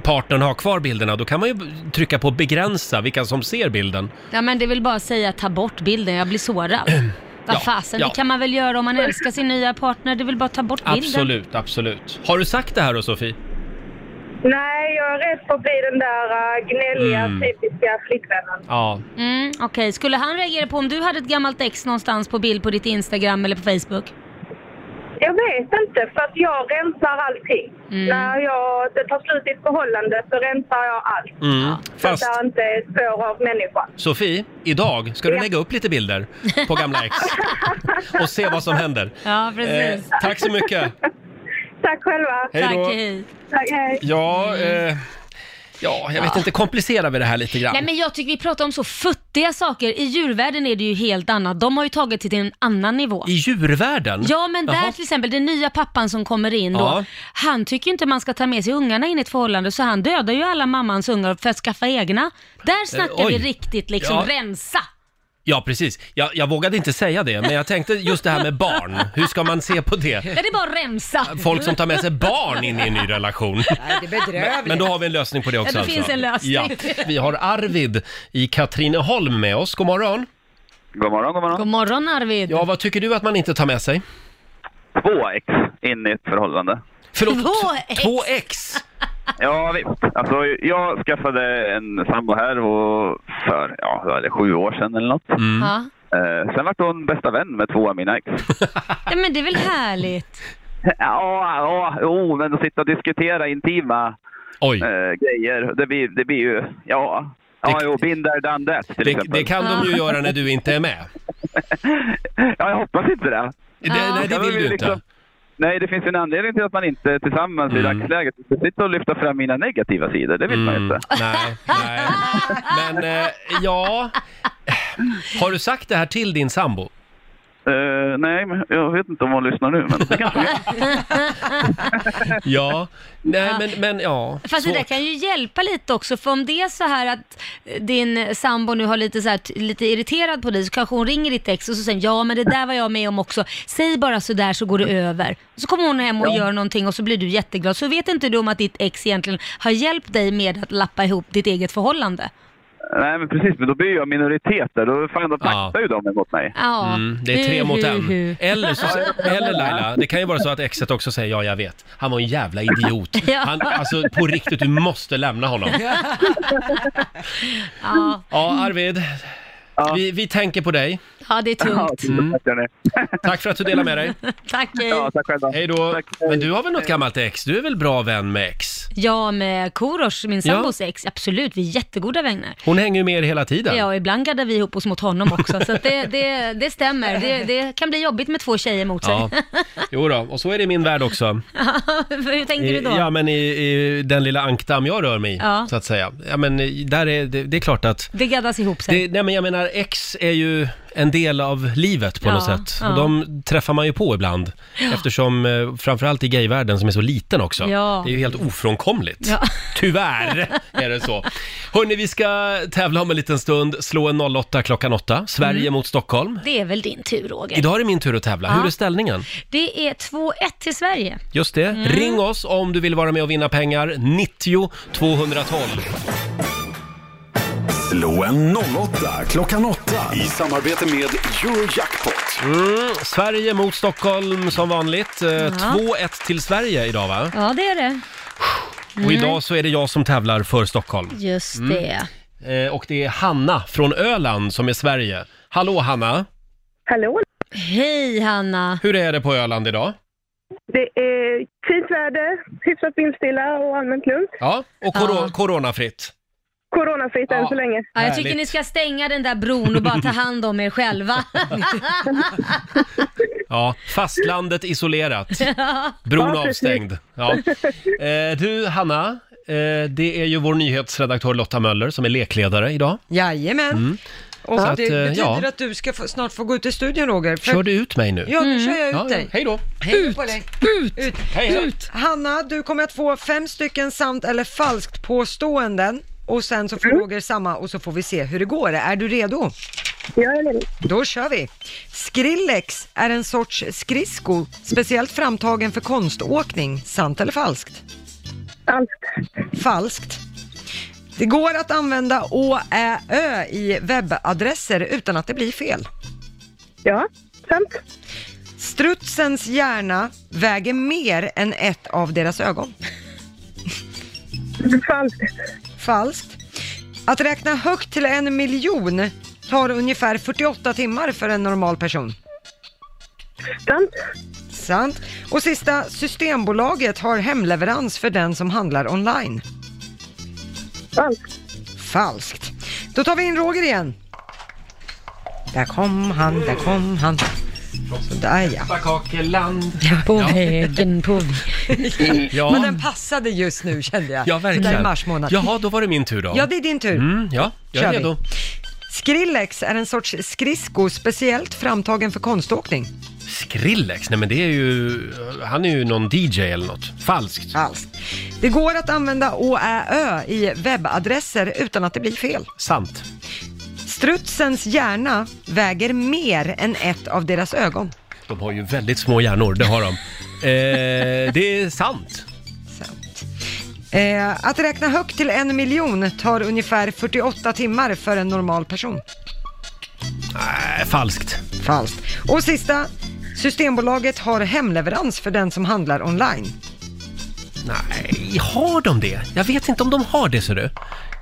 Speaker 1: partnern ha kvar bilderna då kan man ju b- trycka på begränsa vilka som ser bilden.
Speaker 2: ja, men det vill bara att säga ta bort bilden, jag blir sårad.
Speaker 1: [CLEARS THROAT]
Speaker 2: Vad
Speaker 1: Ja,
Speaker 2: fasen,
Speaker 1: ja.
Speaker 2: det kan man väl göra om man älskar sin nya partner, det vill bara ta bort bilden.
Speaker 1: Absolut, absolut. Har du sagt det här då Sofie?
Speaker 10: Nej, jag är rädd för att bli den där eh, gnälliga,
Speaker 1: Mm.
Speaker 10: typiska flickvännen.
Speaker 1: Ja.
Speaker 2: Mm, Okej, skulle han reagera på om du hade ett gammalt ex någonstans på bild på ditt Instagram eller på Facebook?
Speaker 10: Jag vet inte, för att jag rensar allting.
Speaker 2: Mm.
Speaker 10: När jag, det tar slut i ett förhållande så rensar jag allt.
Speaker 1: Mm. Fast
Speaker 10: Så att det inte är spår av människan.
Speaker 1: Sofie, idag ska du
Speaker 10: Ja.
Speaker 1: lägga upp lite
Speaker 2: [LAUGHS]
Speaker 1: bilder på gamla ex och se vad som händer.
Speaker 2: Ja,
Speaker 1: Eh,
Speaker 2: precis.
Speaker 1: tack så mycket.
Speaker 10: Tack själva.
Speaker 1: Hej
Speaker 2: Tack,
Speaker 1: då.
Speaker 2: hej.
Speaker 10: Tack, hej.
Speaker 1: Ja, eh, ja, jag vet inte, komplicerar vi det här lite grann?
Speaker 2: Nej men jag tycker vi pratar om så futtiga saker. I djurvärlden är det ju helt annat. De har ju tagit det till en annan nivå.
Speaker 1: I djurvärlden?
Speaker 2: Ja men där
Speaker 1: Jaha.
Speaker 2: till exempel, den nya pappan som kommer in då.
Speaker 1: Ja.
Speaker 2: Han tycker inte man ska ta med sig ungarna in i ett förhållande så han dödar ju alla mammans ungar för att skaffa egna. Där snackar
Speaker 1: Eh, oj.
Speaker 2: vi riktigt liksom
Speaker 1: Ja.
Speaker 2: rensa.
Speaker 1: Ja, precis. Jag, jag vågade inte säga det, men jag tänkte just det här med barn. Hur ska man se på det?
Speaker 2: Ja, det är bara rensa.
Speaker 1: Folk som tar med sig barn in i en ny relation.
Speaker 3: Nej, det är bedrövligt.
Speaker 1: Men då har vi en lösning på det också.
Speaker 2: Ja, det finns
Speaker 1: alltså.
Speaker 2: en lösning.
Speaker 1: Ja. Vi har Arvid i Katrineholm med oss. God morgon.
Speaker 9: God morgon, god morgon.
Speaker 2: God morgon Arvid.
Speaker 1: Ja, vad tycker du att man inte tar med sig?
Speaker 9: Två ex in i ett förhållande.
Speaker 1: Förlåt,
Speaker 2: Två
Speaker 1: t-
Speaker 2: ex.
Speaker 1: Två ex?
Speaker 9: Ja, visst. Alltså, jag skaffade en sambo här och för ja, vad är det, sju år sedan eller något.
Speaker 1: Mm.
Speaker 2: Ja.
Speaker 9: Eh, sen vart hon bästa vän med två av mina ex. [LAUGHS]
Speaker 2: ja men det är väl härligt.
Speaker 9: Ja, ja, jo, men att sitta och diskutera intima
Speaker 1: Oj.
Speaker 9: eh, grejer, det blir, det blir ju, ja. Ja,
Speaker 1: Det-
Speaker 9: jo, been there, done that, till
Speaker 1: Det,
Speaker 9: exempel.
Speaker 1: det kan de ju göra när du inte är med.
Speaker 9: [LAUGHS] Ja, jag hoppas inte det.
Speaker 1: Det,
Speaker 2: Ja.
Speaker 1: Nej, det
Speaker 9: Ja, men
Speaker 1: vill
Speaker 9: vi
Speaker 1: du inte.
Speaker 9: liksom- Nej, det finns ju en anledning till att man inte tillsammans i dagsläget ska sitta och lyfta fram mina negativa sidor. Det vill man ju
Speaker 1: Mm,
Speaker 9: inte.
Speaker 1: nej, nej. Men eh,
Speaker 2: [LAUGHS]
Speaker 1: ja, har du sagt det här till din sambo?
Speaker 9: Eh, nej, men jag vet inte om hon lyssnar nu, men
Speaker 1: [LAUGHS]
Speaker 9: det kanske hon gör.
Speaker 1: Ja, nej men, men ja.
Speaker 2: Fast det där
Speaker 1: svårt.
Speaker 2: kan ju hjälpa lite också, för om det är så här att eh, din sambo nu har lite, så här, t- lite irriterad på dig, så kanske hon ringer ditt ex och så säger ja men det där var jag med om också, säg bara så där så går det över. Och så kommer hon hem och gör någonting och så blir du jätteglad, så vet inte du om att ditt ex egentligen har hjälpt dig med att lappa ihop ditt eget förhållande.
Speaker 9: Nej, men precis, men då blir jag minoritet där. Då, fan, då
Speaker 1: Ja.
Speaker 9: taktar ju de emot mig.
Speaker 2: Ja,
Speaker 1: Mm, det är tre
Speaker 2: Hu,
Speaker 1: mot
Speaker 2: hu,
Speaker 1: en.
Speaker 2: hu.
Speaker 1: Eller, så, eller Laila, det kan ju vara så att exet också säger ja, jag vet. Han var en jävla idiot.
Speaker 2: Ja.
Speaker 1: Han, alltså på riktigt, du måste lämna honom.
Speaker 2: Ja.
Speaker 1: Ja, Arvid. Vi, vi tänker på dig.
Speaker 2: Ja, det är tungt.
Speaker 1: Mm. Tack för att du delar med dig.
Speaker 2: Tack, hej.
Speaker 1: tack själva. Hej då. Men du har väl något gammalt ex? Du är väl bra vän med ex?
Speaker 2: Jag med Korosh, min
Speaker 1: Ja.
Speaker 2: sambos ex, absolut, vi är jättegoda vänner.
Speaker 1: Hon hänger ju med er hela tiden.
Speaker 2: Ja, och ibland gaddar vi ihop oss mot honom också, så att det, det, det stämmer. Det, det kan bli jobbigt med två tjejer mot sig.
Speaker 1: Ja. Jo då, och så är det i min värld också.
Speaker 2: [LAUGHS] Hur tänker du då?
Speaker 1: I, ja, men i, i den lilla ankdamm jag rör mig i,
Speaker 2: Ja.
Speaker 1: så att säga. Ja, men i- där är det, det är klart att...
Speaker 2: Det gaddas ihop sig.
Speaker 1: Det, nej, men jag menar, ex är ju en del av livet på
Speaker 2: Ja,
Speaker 1: något sätt.
Speaker 2: ja.
Speaker 1: Och de träffar man ju på ibland.
Speaker 2: Ja.
Speaker 1: Eftersom, eh, framförallt i gayvärlden som är så liten också.
Speaker 2: Ja.
Speaker 1: Det är ju helt ofrånkomligt.
Speaker 2: Ja.
Speaker 1: [LAUGHS] Tyvärr är det så. Hörni, vi ska tävla om en liten stund. Slå en 08 klockan 8. Sverige mot Stockholm.
Speaker 2: Det är väl din tur, Roger?
Speaker 1: Idag är det min tur att tävla.
Speaker 2: Mm. Ja.
Speaker 1: Hur är ställningen?
Speaker 2: Det är 2-1 till Sverige.
Speaker 1: Just det.
Speaker 2: Mm.
Speaker 1: Ring oss om du vill vara med och vinna pengar. 90 212.
Speaker 4: Slå en 08 klockan 8 i samarbete med Eurojackpot.
Speaker 1: Mm, Sverige mot Stockholm som vanligt. Eh, 2-1 till Sverige idag va?
Speaker 2: Ja, det är det.
Speaker 1: Och
Speaker 2: Mm.
Speaker 1: idag så är det jag som tävlar för Stockholm.
Speaker 2: Just
Speaker 1: Mm.
Speaker 2: det.
Speaker 1: Eh, och det är Hanna från Öland som är Sverige. Hallå Hanna!
Speaker 10: Hallå?
Speaker 2: Hej Hanna!
Speaker 1: Hur är det på Öland idag?
Speaker 10: Det är fint väder, hyfsat vindstilla och allmänt lugnt.
Speaker 1: Ja, och coro- coronafritt.
Speaker 10: Coronafritt än
Speaker 1: Ja.
Speaker 10: så länge.
Speaker 2: Ja, jag tycker
Speaker 1: Härligt.
Speaker 2: ni ska stänga den där bron och bara ta hand om er [LAUGHS] själva.
Speaker 1: Ja, fastlandet isolerat.
Speaker 2: Ja.
Speaker 1: Bron
Speaker 2: Ja, precis.
Speaker 1: avstängd. Ja. Eh, du Hanna, eh, det är ju vår nyhetsredaktör Lotta Möller som är lekledare idag.
Speaker 3: Jajamän.
Speaker 1: Mm.
Speaker 3: Och
Speaker 1: Så att,
Speaker 3: det
Speaker 1: eh,
Speaker 3: betyder
Speaker 1: ja.
Speaker 3: att du ska få, snart få gå ut i studion Roger. För-
Speaker 1: Kör du ut mig nu?
Speaker 3: Ja, nu kör jag ut
Speaker 1: Ja, ja.
Speaker 3: dig.
Speaker 1: Hej då!
Speaker 3: Hej på dig. Ut! ut.
Speaker 1: Hej då.
Speaker 3: ut. Hanna, du kommer att få fem stycken sant eller falskt påståenden och sen så får Roger samma och så får vi se hur det går. Är du redo?
Speaker 10: Jag är redo.
Speaker 3: Då kör vi. Skrillex är en sorts skridsko, speciellt framtagen för konståkning. Sant eller falskt? Falskt. Falskt. Det går att använda å, ä, ö i webbadresser utan att det blir fel. Ja, sant. Strutsens hjärna väger mer än ett av deras ögon. Falskt. Falskt. Att räkna högt till en miljon tar ungefär 48 timmar för en normal person. Sant. Sant. Och sista, Systembolaget har hemleverans för den som handlar online. Falskt. Falskt. Då tar vi in Roger igen. Där kom han, där kom han. Sådär ja.
Speaker 1: Pepparkakeland.
Speaker 2: På vägen, på
Speaker 1: Ja.
Speaker 3: Men den passade just nu kände jag.
Speaker 1: Ja,
Speaker 3: Sådär i
Speaker 1: verkligen.
Speaker 3: mars månad.
Speaker 1: Jaha, då var det min tur då.
Speaker 3: Ja, det är din tur.
Speaker 1: Mm, ja, jag är
Speaker 3: Kör vi.
Speaker 1: redo.
Speaker 3: Skrillex är en sorts skridsko speciellt framtagen för konståkning.
Speaker 1: Skrillex, nej men det är ju... Han är ju någon DJ eller något. Falskt.
Speaker 3: Falskt. Det går att använda å, ä, ö i webbadresser utan att det blir fel.
Speaker 1: Sant.
Speaker 3: Strutsens hjärna väger mer än ett av deras ögon.
Speaker 1: De har ju väldigt små hjärnor, det
Speaker 3: [LAUGHS]
Speaker 1: har de. eh, det är sant.
Speaker 3: Eh, att räkna högt till en miljon tar ungefär 48 timmar för en normal person.
Speaker 1: Nej, falskt.
Speaker 3: Falskt. Och sista, Systembolaget har hemleverans för den som handlar online.
Speaker 1: Nej, har de det? Jag vet inte om de har det, ser du.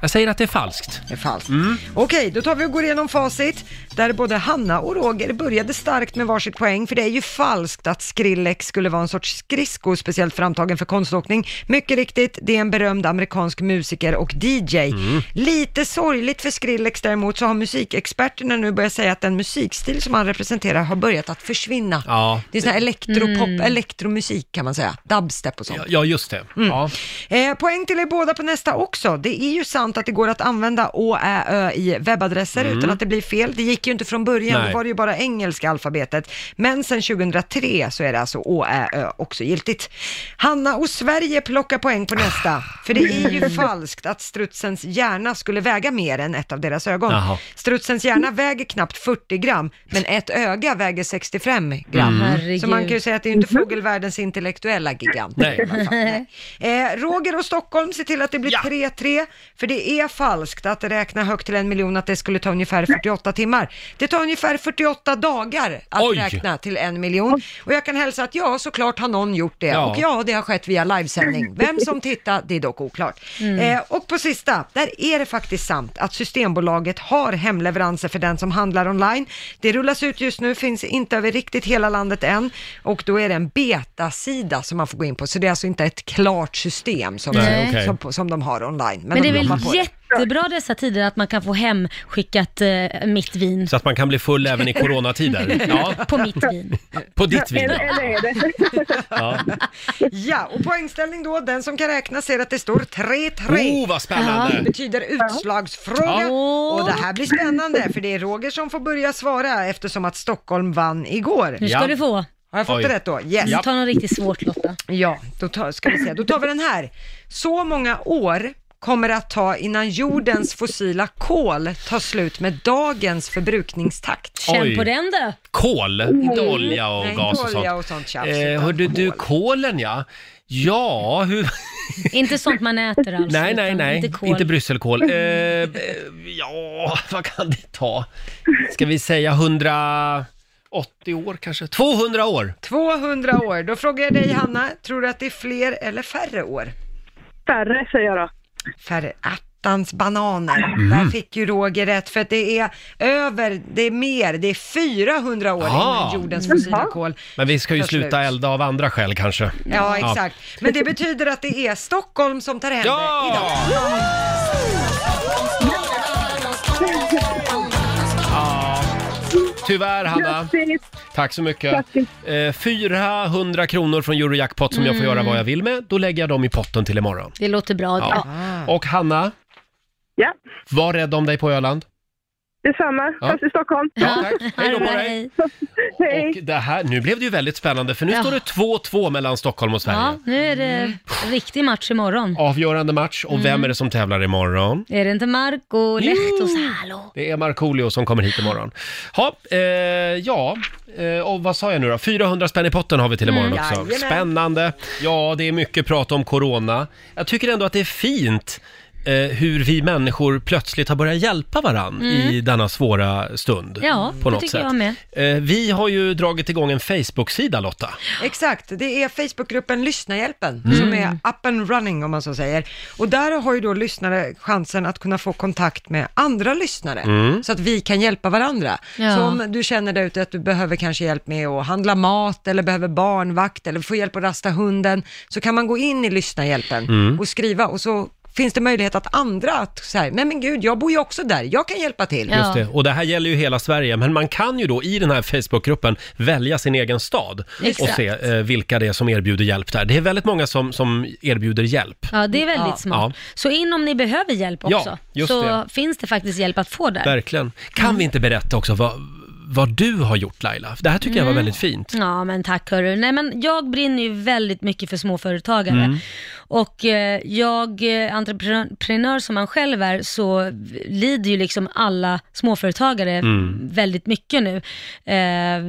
Speaker 1: Jag säger att det är falskt.
Speaker 3: Det är falskt.
Speaker 1: Mm.
Speaker 3: Okej, då tar vi och går igenom facit där både Hanna och Roger började starkt med varsitt poäng för det är ju falskt att Skrillex skulle vara en sorts skridsko speciellt framtagen för konståkning. Mycket riktigt, det är en berömd amerikansk musiker och DJ.
Speaker 1: Mm.
Speaker 3: Lite sorgligt för Skrillex däremot så har musikexperterna nu börjat säga att den musikstil som han representerar har börjat att försvinna.
Speaker 1: Ja.
Speaker 3: Det är sån här elektropop,
Speaker 1: Mm.
Speaker 3: elektromusik kan man säga, dubstep och sånt.
Speaker 1: Ja, just det. Ja.
Speaker 3: Eh, poäng till er båda på nästa också. Det är ju sant att det går att använda å, ä, ö i webbadresser
Speaker 1: Mm.
Speaker 3: utan att det blir fel. Det gick ju inte från början,
Speaker 1: Nej.
Speaker 3: då var det ju bara engelska alfabetet. Men sedan 2003 så är det alltså å, ä, ö också giltigt. Hanna och Sverige plockar poäng på nästa. För det
Speaker 1: [LAUGHS]
Speaker 3: är ju falskt att strutsens hjärna skulle väga mer än ett av deras ögon.
Speaker 1: Jaha.
Speaker 3: Strutsens hjärna väger knappt 40 gram, men ett öga väger 65 gram.
Speaker 2: Mm.
Speaker 3: Så man kan ju säga att det är ju inte fågelvärldens intellektuella gigant.
Speaker 1: Nej.
Speaker 3: [LAUGHS] Eh, Roger och Stockholm, se till att det blir 3-3, för det det är falskt att räkna högt till en miljon att det skulle ta ungefär 48 timmar. Det tar ungefär 48 dagar att
Speaker 5: Oj.
Speaker 3: räkna till en miljon. Och jag kan hälsa att ja, såklart har någon gjort det.
Speaker 5: Ja.
Speaker 3: Och ja, det har skett via livesändning. Vem som tittar, det är dock oklart.
Speaker 5: Mm.
Speaker 3: Eh, och på sista, där är det faktiskt sant att Systembolaget har hemleveranser för den som handlar online. Det rullas ut just nu, finns inte över riktigt hela landet än. Och då är det en betasida som man får gå in på. Så det är alltså inte ett klart system som,
Speaker 2: Nej, okej.
Speaker 3: som, som de har online. Men,
Speaker 2: Men det
Speaker 3: de
Speaker 2: är väl
Speaker 3: jobbar på det.
Speaker 2: jättebra dessa tider att man kan få hemskickat eh, mitt vin.
Speaker 1: Så att man kan bli full även i
Speaker 3: [LAUGHS]
Speaker 1: coronatider. Ja,
Speaker 2: På mitt vin.
Speaker 1: på ditt vin.
Speaker 3: Eller- eller
Speaker 10: [LAUGHS]
Speaker 3: är det?
Speaker 1: Ja.
Speaker 3: Ja, och poängställning då, den som kan räkna ser att det står 3-3.
Speaker 1: Oh, vad spännande.
Speaker 3: Det betyder utslagsfråga. Och det här blir spännande, för det är Roger som får börja svara eftersom att Stockholm vann igår.
Speaker 2: Nu ska Ja. du få.
Speaker 3: Har jag fått
Speaker 2: Oj.
Speaker 3: det rätt då? Yes.
Speaker 2: Ja. Ta något riktigt svårt Lotta.
Speaker 3: Ja, då tar, ska vi se. Då tar vi den här. Så många år kommer det att ta innan jordens fossila kol tar slut med dagens förbrukningstakt.
Speaker 1: Känn Oj. på den
Speaker 2: då.
Speaker 1: Kol, inte olja och
Speaker 3: Mm. Nej, inte
Speaker 1: gas och sånt.
Speaker 3: olja och sånt tjafs,
Speaker 1: eh,
Speaker 3: utan
Speaker 1: hörde du, kolen ja. Ja, hur...
Speaker 2: Inte sånt man äter alls.
Speaker 1: nej, nej,
Speaker 2: utan
Speaker 1: nej.
Speaker 2: Inte
Speaker 1: Inte,
Speaker 2: kol.
Speaker 1: brysselkål. Eh, eh, ja, vad kan det ta? Ska vi säga 180 år kanske? 200 år!
Speaker 3: 200 år. Då frågar jag dig Hanna, tror du att det är fler eller färre år? Färre säger jag då. Färre. Attans bananer. Där fick ju Roger rätt för att det är över, det är mer, det är 400 år
Speaker 1: Ja.
Speaker 3: innan jordens fossila kol.
Speaker 1: Men vi ska ju
Speaker 3: tar slut.
Speaker 1: sluta elda av andra skäl kanske.
Speaker 3: Ja, exakt. Men det betyder att det är Stockholm som tar hem det idag.
Speaker 1: Ja. Tyvärr Hanna. Tack så mycket. Eh, 400 kronor från Eurojackpot som jag får
Speaker 2: Mm.
Speaker 1: göra vad jag vill med. Då lägger jag dem i potten till imorgon.
Speaker 2: Det låter bra.
Speaker 1: Ja. Och Hanna?
Speaker 10: Ja?
Speaker 1: Var rädd om dig på Öland.
Speaker 10: Detsamma,
Speaker 1: Ja.
Speaker 10: fast i Stockholm.
Speaker 1: Ja, tack. Hej då på dig. Och det här, nu blev det ju väldigt spännande för nu
Speaker 2: Ja.
Speaker 1: står det 2-2 mellan Stockholm och Sverige.
Speaker 2: Ja, nu är
Speaker 1: Mm.
Speaker 2: det riktig match imorgon.
Speaker 1: Avgörande match och vem
Speaker 2: Mm.
Speaker 1: är det som tävlar imorgon?
Speaker 2: Är det inte Marco Lehtosalo?
Speaker 1: Det är Markoolio som kommer hit imorgon. Ha, eh, ja, eh, och vad sa jag nu då? 400 spänn i potten har vi till imorgon
Speaker 2: Mm.
Speaker 1: också.
Speaker 2: Jajamän.
Speaker 1: Spännande. Ja, det är mycket prat om corona. Jag tycker ändå att det är fint eh, hur vi människor plötsligt har börjat hjälpa varann
Speaker 2: Mm.
Speaker 1: i denna svåra stund.
Speaker 2: Ja,
Speaker 1: på
Speaker 2: det
Speaker 1: något
Speaker 2: tycker
Speaker 1: sätt.
Speaker 2: jag med.
Speaker 1: Eh, vi har ju dragit igång en Facebook-sida Lotta.
Speaker 3: Exakt, det är Facebookgruppen Lyssnarhjälpen
Speaker 1: Mm.
Speaker 3: som är up and running om man så säger. Och där har ju då lyssnare chansen att kunna få kontakt med andra lyssnare
Speaker 5: Mm.
Speaker 3: så att vi kan hjälpa varandra.
Speaker 5: Ja.
Speaker 3: Så om du känner där ute att du behöver kanske hjälp med att handla mat eller behöver barnvakt eller få hjälp att rasta hunden så kan man gå in i Lyssnarhjälpen
Speaker 5: Mm.
Speaker 3: och skriva och så finns det möjlighet att andra att så här, nej men gud, jag bor ju också där, jag kan hjälpa till.
Speaker 1: Just det. Och det här gäller ju hela Sverige, men man kan ju då i den här Facebookgruppen välja sin egen stad och
Speaker 2: Exakt.
Speaker 1: se eh, vilka det är som erbjuder hjälp där. Det är väldigt många som, som erbjuder hjälp.
Speaker 2: Ja, det är väldigt
Speaker 1: Ja.
Speaker 2: smart.
Speaker 1: Ja.
Speaker 2: Så in om ni behöver hjälp
Speaker 1: Ja,
Speaker 2: också,
Speaker 1: just
Speaker 2: så
Speaker 1: det.
Speaker 2: finns det faktiskt hjälp att få där.
Speaker 1: Verkligen. Kan
Speaker 2: Mm.
Speaker 1: vi inte berätta också vad, vad du har gjort Laila? Det här tycker jag var
Speaker 2: Mm.
Speaker 1: väldigt fint.
Speaker 2: Ja, men tack hörru. Nej, men jag brinner ju väldigt mycket för småföretagare.
Speaker 1: Mm.
Speaker 2: Och eh, jag, eh, entreprenör som man själv är, så lider ju liksom alla småföretagare
Speaker 5: Mm.
Speaker 2: väldigt mycket nu. Eh,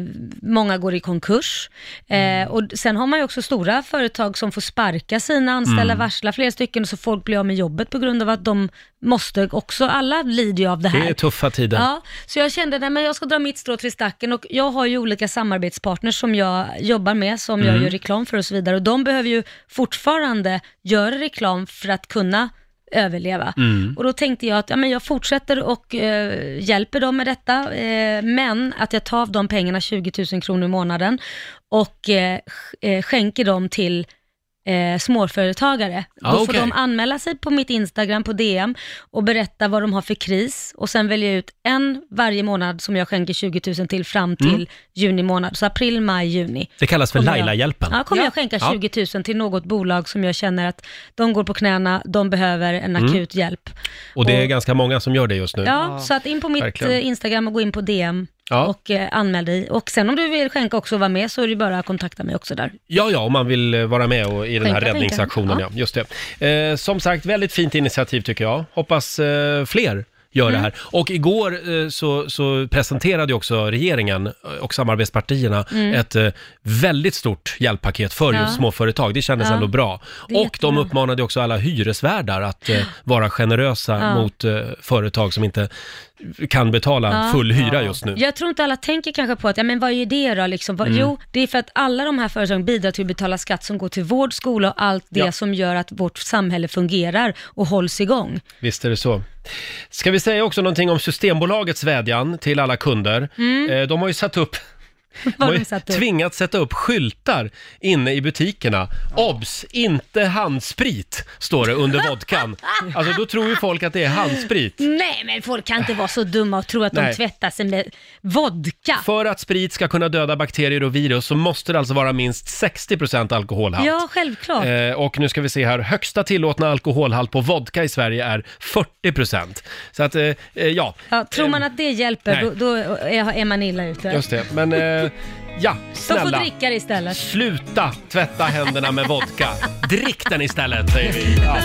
Speaker 2: många går i konkurs. Eh, och sen har man ju också stora företag som får sparka sina anställda,
Speaker 5: Mm.
Speaker 2: varsla flera stycken, och så folk blir av med jobbet på grund av att de måste också, alla lider ju av det här.
Speaker 1: Det är tuffa tider.
Speaker 2: Mm. Ja, så jag kände att jag ska dra mitt strå till stacken och jag har ju olika samarbetspartners som jag jobbar med, som jag
Speaker 1: Mm.
Speaker 2: gör reklam för och så vidare. Och de behöver ju fortfarande göra reklam för att kunna överleva.
Speaker 5: Mm.
Speaker 2: Och då tänkte jag att ja, men jag fortsätter och eh, hjälper dem med detta, eh, men att jag tar av de pengarna, 20 000 kronor i månaden, och eh, sk- eh, skänker dem till eh, småföretagare.
Speaker 5: Ah,
Speaker 2: Då får
Speaker 5: okej.
Speaker 2: de anmäla sig på mitt Instagram, på DM och berätta vad de har för kris och sen väljer jag ut en varje månad som jag skänker 20 000 till fram till
Speaker 1: Mm.
Speaker 2: juni månad. Så april, maj, juni.
Speaker 1: Det kallas för
Speaker 2: Kommer jag-
Speaker 1: Laila-hjälpen.
Speaker 2: Ja, kommer jag skänka
Speaker 1: Ja.
Speaker 2: 20 000 till något bolag som jag känner att de går på knäna, de behöver en
Speaker 1: Mm.
Speaker 2: akut hjälp.
Speaker 1: Och det är ganska många som gör det just nu.
Speaker 2: Ja, så att in på mitt
Speaker 1: Verkligen.
Speaker 2: eh, Instagram och gå in på DM
Speaker 1: Ja.
Speaker 2: och eh, anmäl dig. Och sen om du vill skänka också och vara med så är det bara att kontakta mig också där.
Speaker 1: Ja, ja, om man vill eh, vara med och, i den här
Speaker 2: Skänka pengar.
Speaker 1: räddningsaktionen. Ja.
Speaker 2: Ja.
Speaker 1: just det. Eh, som sagt, väldigt fint initiativ tycker jag. Hoppas eh, fler gör
Speaker 2: Mm.
Speaker 1: det här. Och igår eh, så, så presenterade ju också regeringen eh, och samarbetspartierna
Speaker 2: Mm.
Speaker 1: ett eh, väldigt stort hjälppaket för
Speaker 2: Ja.
Speaker 1: just småföretag. Det kändes
Speaker 2: Ja.
Speaker 1: ändå bra.
Speaker 2: Det är
Speaker 1: Och de
Speaker 2: jättebra.
Speaker 1: uppmanade också alla hyresvärdar att eh, vara generösa
Speaker 2: Ja.
Speaker 1: mot eh, företag som inte kan betala
Speaker 2: Ja.
Speaker 1: full hyra just nu.
Speaker 2: Jag tror inte alla tänker kanske på att, ja men vad är det då liksom? Vad,
Speaker 1: Mm.
Speaker 2: Jo, det är för att alla de här företagen bidrar till att betala skatt som går till vård, skola och allt det
Speaker 1: Ja.
Speaker 2: som gör att vårt samhälle fungerar och
Speaker 1: [LAUGHS]
Speaker 2: hålls igång.
Speaker 1: Visst är det så. Ska vi säga också någonting om Systembolagets vädjan till alla kunder?
Speaker 2: Mm.
Speaker 1: Eh, De har ju satt
Speaker 2: [LAUGHS]
Speaker 1: upp de
Speaker 2: har
Speaker 1: har ju
Speaker 2: de satt upp?
Speaker 1: tvingats sätta upp skyltar inne i butikerna. Obs! Inte handsprit, står det under
Speaker 2: [LAUGHS]
Speaker 1: vodkan. Alltså då tror ju folk att det är handsprit.
Speaker 2: Nej, men folk kan inte vara så dumma och tro att
Speaker 1: Nej.
Speaker 2: de tvättar sig med vodka.
Speaker 1: För att sprit ska kunna döda bakterier och virus så måste det alltså vara minst 60% alkoholhalt.
Speaker 2: Ja, självklart.
Speaker 1: Eh, och nu ska vi se här, högsta tillåtna alkoholhalt på vodka i Sverige är 40%. Så att, eh, eh, ja.
Speaker 2: ja, tror man
Speaker 1: Eh,
Speaker 2: att det hjälper,
Speaker 1: nej.
Speaker 2: då, då är är man illa
Speaker 1: [LAUGHS]
Speaker 2: ute.
Speaker 1: Just det, men eh, ja,
Speaker 2: De får
Speaker 1: snälla.
Speaker 2: dricka det istället.
Speaker 1: Sluta tvätta händerna med vodka. Drick den istället, säger
Speaker 2: [LAUGHS]
Speaker 1: vi. Ja.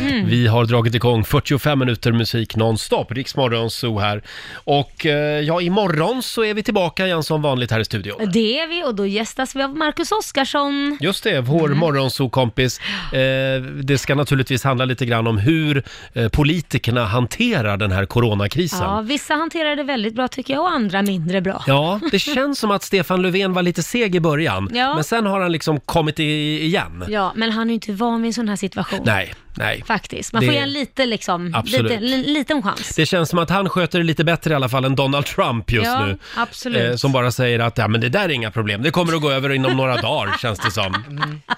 Speaker 2: Mm.
Speaker 1: Vi har dragit igång 45 minuter musik nonstop, Riksmorgon Zoo här. Och eh, ja, imorgon så är vi tillbaka igen som vanligt här i studion.
Speaker 2: Det är vi och då gästas vi av Marcus Oskarsson.
Speaker 1: Just det, vår mm. morgonsokompis. Eh, det ska naturligtvis handla lite grann om hur eh, politikerna hanterar den här coronakrisen.
Speaker 2: Ja, vissa hanterar det väldigt bra tycker jag och andra mindre bra.
Speaker 1: Ja, det känns som att Stefan Löfven var lite seg i början,
Speaker 2: Ja.
Speaker 1: men sen har han liksom kommit i, igen.
Speaker 2: Ja, men han är ju inte van vid en sån här situation.
Speaker 1: Nej, nej.
Speaker 2: Faktiskt. Man
Speaker 1: Det-
Speaker 2: får ge en lite, liksom,
Speaker 1: Absolut.
Speaker 2: lite, li, liten chans.
Speaker 1: Det känns som att han sköter det lite bättre i alla fall än Donald Trump just
Speaker 2: ja,
Speaker 1: nu.
Speaker 2: absolut.
Speaker 1: Eh, som bara säger att ja, men det där är inga problem, det kommer att gå över inom några
Speaker 2: [LAUGHS]
Speaker 1: dagar känns det som.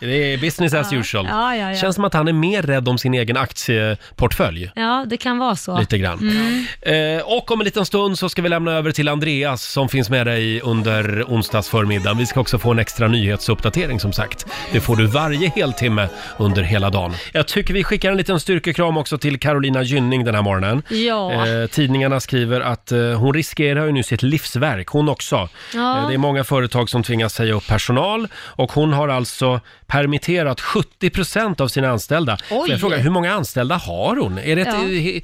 Speaker 1: Det är business as usual.
Speaker 2: Ja, ja, ja.
Speaker 1: Känns som att han är mer rädd om sin egen aktieportfölj.
Speaker 2: Ja, det kan vara så.
Speaker 1: Lite grann.
Speaker 2: Mm.
Speaker 1: Eh, och om en liten stund så ska vi lämna över till Andreas som finns med dig under onsdagsförmiddagen. Vi ska också få en extra nyhetsuppdatering som sagt. Det får du varje heltimme under hela dagen. Jag tycker vi skickar en liten styrkekram också till Carolina Gynning den här morgonen.
Speaker 2: Ja.
Speaker 1: Eh, tidningarna skriver att eh, hon riskerar ju nu sitt livsverk, hon också.
Speaker 2: Ja.
Speaker 1: Eh, det är många företag som tvingas säga upp personal och hon har alltså permitterat 70% av sina anställda.
Speaker 2: Oj.
Speaker 1: Så jag frågar, hur många anställda har hon? Är det ett
Speaker 2: Ja.
Speaker 1: eh, he-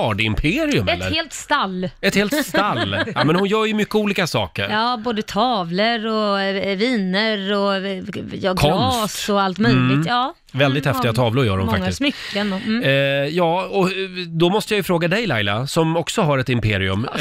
Speaker 1: miljardimperium eller?
Speaker 2: Ett helt stall.
Speaker 1: Ett helt stall. Ja, men hon gör ju mycket olika saker.
Speaker 2: Ja, både tavlor och eh, viner och eh, ja,
Speaker 1: Konst.
Speaker 2: glas och allt möjligt.
Speaker 1: Mm.
Speaker 2: Ja.
Speaker 1: Väldigt
Speaker 2: Mm,
Speaker 1: häftiga
Speaker 2: ja,
Speaker 1: tavlor gör hon
Speaker 2: många
Speaker 1: faktiskt.
Speaker 2: smycken och... Mm.
Speaker 1: Eh, ja, och eh, då måste jag ju fråga dig Laila, som också har ett imperium. Eh,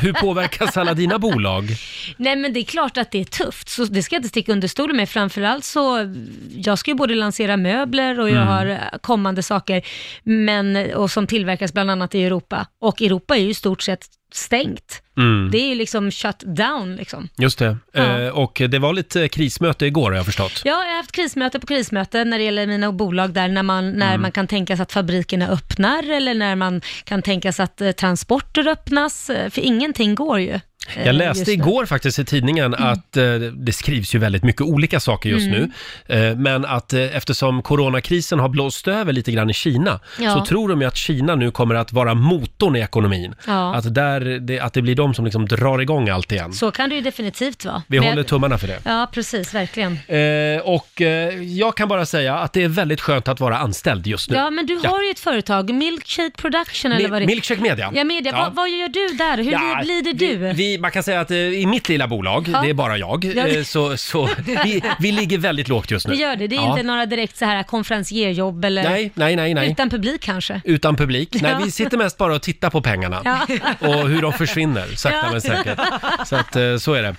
Speaker 1: hur påverkas alla dina bolag?
Speaker 2: [LAUGHS] Nej men det är klart att det är tufft, så det ska jag inte sticka under stolen med. Framförallt så, jag ska ju både lansera möbler och jag
Speaker 1: Mm.
Speaker 2: har eh, kommande saker, men, och som tillverkas bland annat i Europa. Och Europa är ju i stort sett stängt.
Speaker 1: Mm.
Speaker 2: Det är ju liksom shut down liksom.
Speaker 1: Just det.
Speaker 2: Ja.
Speaker 1: Eh, och det var lite krismöte igår har jag förstått.
Speaker 2: Ja, jag har haft krismöte på krismöte när det gäller mina bolag där, när man, när
Speaker 1: Mm.
Speaker 2: man kan tänka sig att fabrikerna öppnar eller när man kan tänka sig att eh, transporter öppnas, eh, för ingenting går ju. eh,
Speaker 1: Jag
Speaker 2: just Mm.
Speaker 1: läste
Speaker 2: nu.
Speaker 1: igår faktiskt i tidningen att eh, det skrivs ju väldigt mycket olika saker just
Speaker 2: Mm.
Speaker 1: nu. Eh, men att eh, eftersom coronakrisen har blåst över lite grann i Kina
Speaker 2: Ja.
Speaker 1: så tror de ju att Kina nu kommer att vara motorn i ekonomin.
Speaker 2: Ja.
Speaker 1: Att, där, det, att det blir de som liksom drar igång allt igen.
Speaker 2: Så kan det ju definitivt vara.
Speaker 1: Vi
Speaker 2: Men jag-
Speaker 1: håller tummarna för det.
Speaker 2: Ja, precis, verkligen.
Speaker 1: Eh, och eh, jag kan bara säga att det är väldigt skönt att vara anställd just nu.
Speaker 2: Ja, men du har ju ett företag, Milkshake Production eller
Speaker 1: Mi-
Speaker 2: vad det
Speaker 1: Milkshake Media.
Speaker 2: Ja, media.
Speaker 1: Ja.
Speaker 2: Vad, vad gör du där? Hur
Speaker 1: Ja,
Speaker 2: lider du?
Speaker 1: Vi, vi, man kan säga att eh, i mitt lilla bolag,
Speaker 2: Ja.
Speaker 1: det är bara jag,
Speaker 2: Ja.
Speaker 1: eh, så, så vi, vi ligger väldigt lågt just nu.
Speaker 2: Vi gör det. Det är
Speaker 1: Ja.
Speaker 2: inte några direkt så här konferensierjobb eller
Speaker 1: Nej, nej, nej, nej. Utan,
Speaker 2: utan publik kanske.
Speaker 1: publik. Nej,
Speaker 2: Ja.
Speaker 1: vi sitter mest bara och tittar på pengarna. [LAUGHS]
Speaker 2: Ja.
Speaker 1: Och hur de försvinner, sakta
Speaker 2: Ja.
Speaker 1: men säkert. Så att, eh, så är det.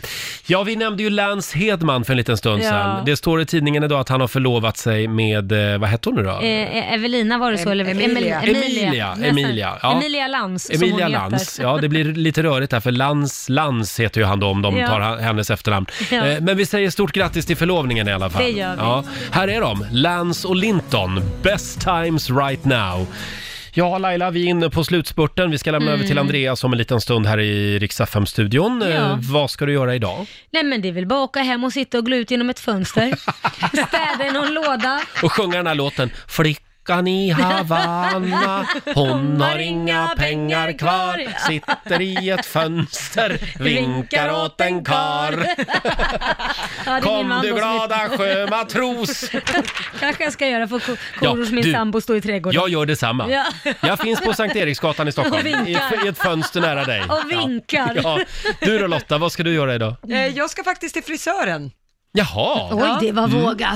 Speaker 1: Ja, vi nämnde ju Lance Hedman för en liten stund
Speaker 2: Ja.
Speaker 1: sedan. Det står i tidningen idag att han har förlovat sig med, eh, vad hette hon nu då?
Speaker 2: Eh, Evelina var det så? Eller?
Speaker 1: Emilia.
Speaker 2: Emil-
Speaker 1: Emilia,
Speaker 2: Nästan.
Speaker 1: Emilia, ja.
Speaker 2: Emilia Lans, som
Speaker 1: Emilia
Speaker 2: hon heter.
Speaker 1: Lantz, ja det blir lite rörigt här för Lans, Lans heter ju han då om de
Speaker 2: Ja.
Speaker 1: tar ha- hennes efternamn.
Speaker 2: Ja.
Speaker 1: Eh, Men vi säger stort grattis till förlovningen i alla fall.
Speaker 2: Det gör vi.
Speaker 1: Ja. Här är de, Lans och Linton, Best times right now. Ja, Laila, vi är inne på slutspurten. Vi ska lämna
Speaker 2: Mm.
Speaker 1: över till Andreas om en liten stund här i Rix studion
Speaker 2: Ja.
Speaker 1: Vad ska du göra idag?
Speaker 2: Nej men det är väl bara att åka
Speaker 1: [LAUGHS]
Speaker 2: hem och sitta och glo ut genom ett fönster. Städa i någon låda.
Speaker 1: Och sjunga den här låten, Flicka dockan i Havanna. Hon har inga pengar kvar. Sitter i ett
Speaker 2: [LAUGHS]
Speaker 1: fönster, vinkar åt en kar.
Speaker 2: Ja, det är min
Speaker 1: Kom
Speaker 2: man
Speaker 1: du
Speaker 2: då som-
Speaker 1: glada sjömatros.
Speaker 2: Kanske jag ska göra för ko-
Speaker 1: Ja,
Speaker 2: koror hos min
Speaker 1: du.
Speaker 2: sambo står i trädgården.
Speaker 1: Jag gör detsamma.
Speaker 2: Ja.
Speaker 1: Jag finns på Sankt Eriksgatan i Stockholm.
Speaker 2: Och
Speaker 1: I,
Speaker 2: vinkar.
Speaker 1: I ett fönster nära dig.
Speaker 2: Och vinkar.
Speaker 1: Ja. Ja. Du då Lotta, vad ska du göra idag?
Speaker 3: Eh, Jag ska faktiskt till frisören.
Speaker 1: Jaha! Mm.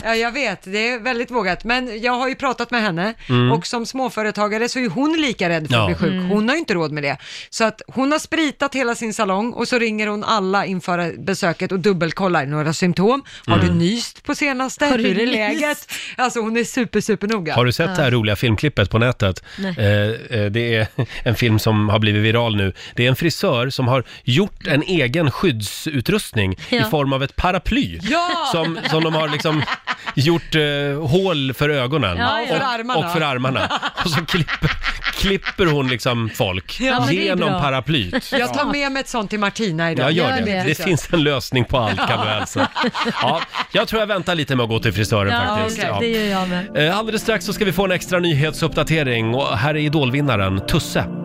Speaker 3: Ja, jag vet. Det är väldigt vågat. Men jag har ju pratat med henne
Speaker 1: Mm.
Speaker 3: och som småföretagare så är hon lika rädd för
Speaker 1: Ja.
Speaker 3: att bli sjuk.
Speaker 1: Mm.
Speaker 3: Hon har ju inte råd med det. Så att hon har spritat hela sin salong och så ringer hon alla inför besöket och dubbelkollar några symptom. Har
Speaker 1: Mm.
Speaker 3: du nyst på senaste?
Speaker 1: Har du
Speaker 3: Hur är
Speaker 1: nyst?
Speaker 3: läget? Alltså hon är super, super noga.
Speaker 1: Har du sett det här roliga filmklippet på nätet? Eh,
Speaker 3: Nej.
Speaker 1: eh, det är [LAUGHS] en film som har blivit viral nu. Det är en frisör som har gjort en egen skyddsutrustning i
Speaker 5: Ja.
Speaker 1: form av ett paraply.
Speaker 5: Ja!
Speaker 1: Som, som de har liksom gjort eh, hål för ögonen
Speaker 5: Ja, ja.
Speaker 1: Och,
Speaker 5: För armarna.
Speaker 1: och för armarna. Och så klipper, klipper hon liksom folk
Speaker 3: Ja, men det är
Speaker 1: genom
Speaker 3: bra.
Speaker 1: paraplyt.
Speaker 3: Jag tar
Speaker 1: Ja.
Speaker 3: med mig ett sånt till Martina idag.
Speaker 1: Jag gör det. Det finns en lösning på allt kan du
Speaker 3: Ja.
Speaker 1: hälsa. Ja, jag tror jag väntar lite med att gå till frisören faktiskt. Ja.
Speaker 2: det gör jag med.
Speaker 1: Eh, Alldeles strax så ska vi få en extra nyhetsuppdatering och här är idolvinnaren Tusse.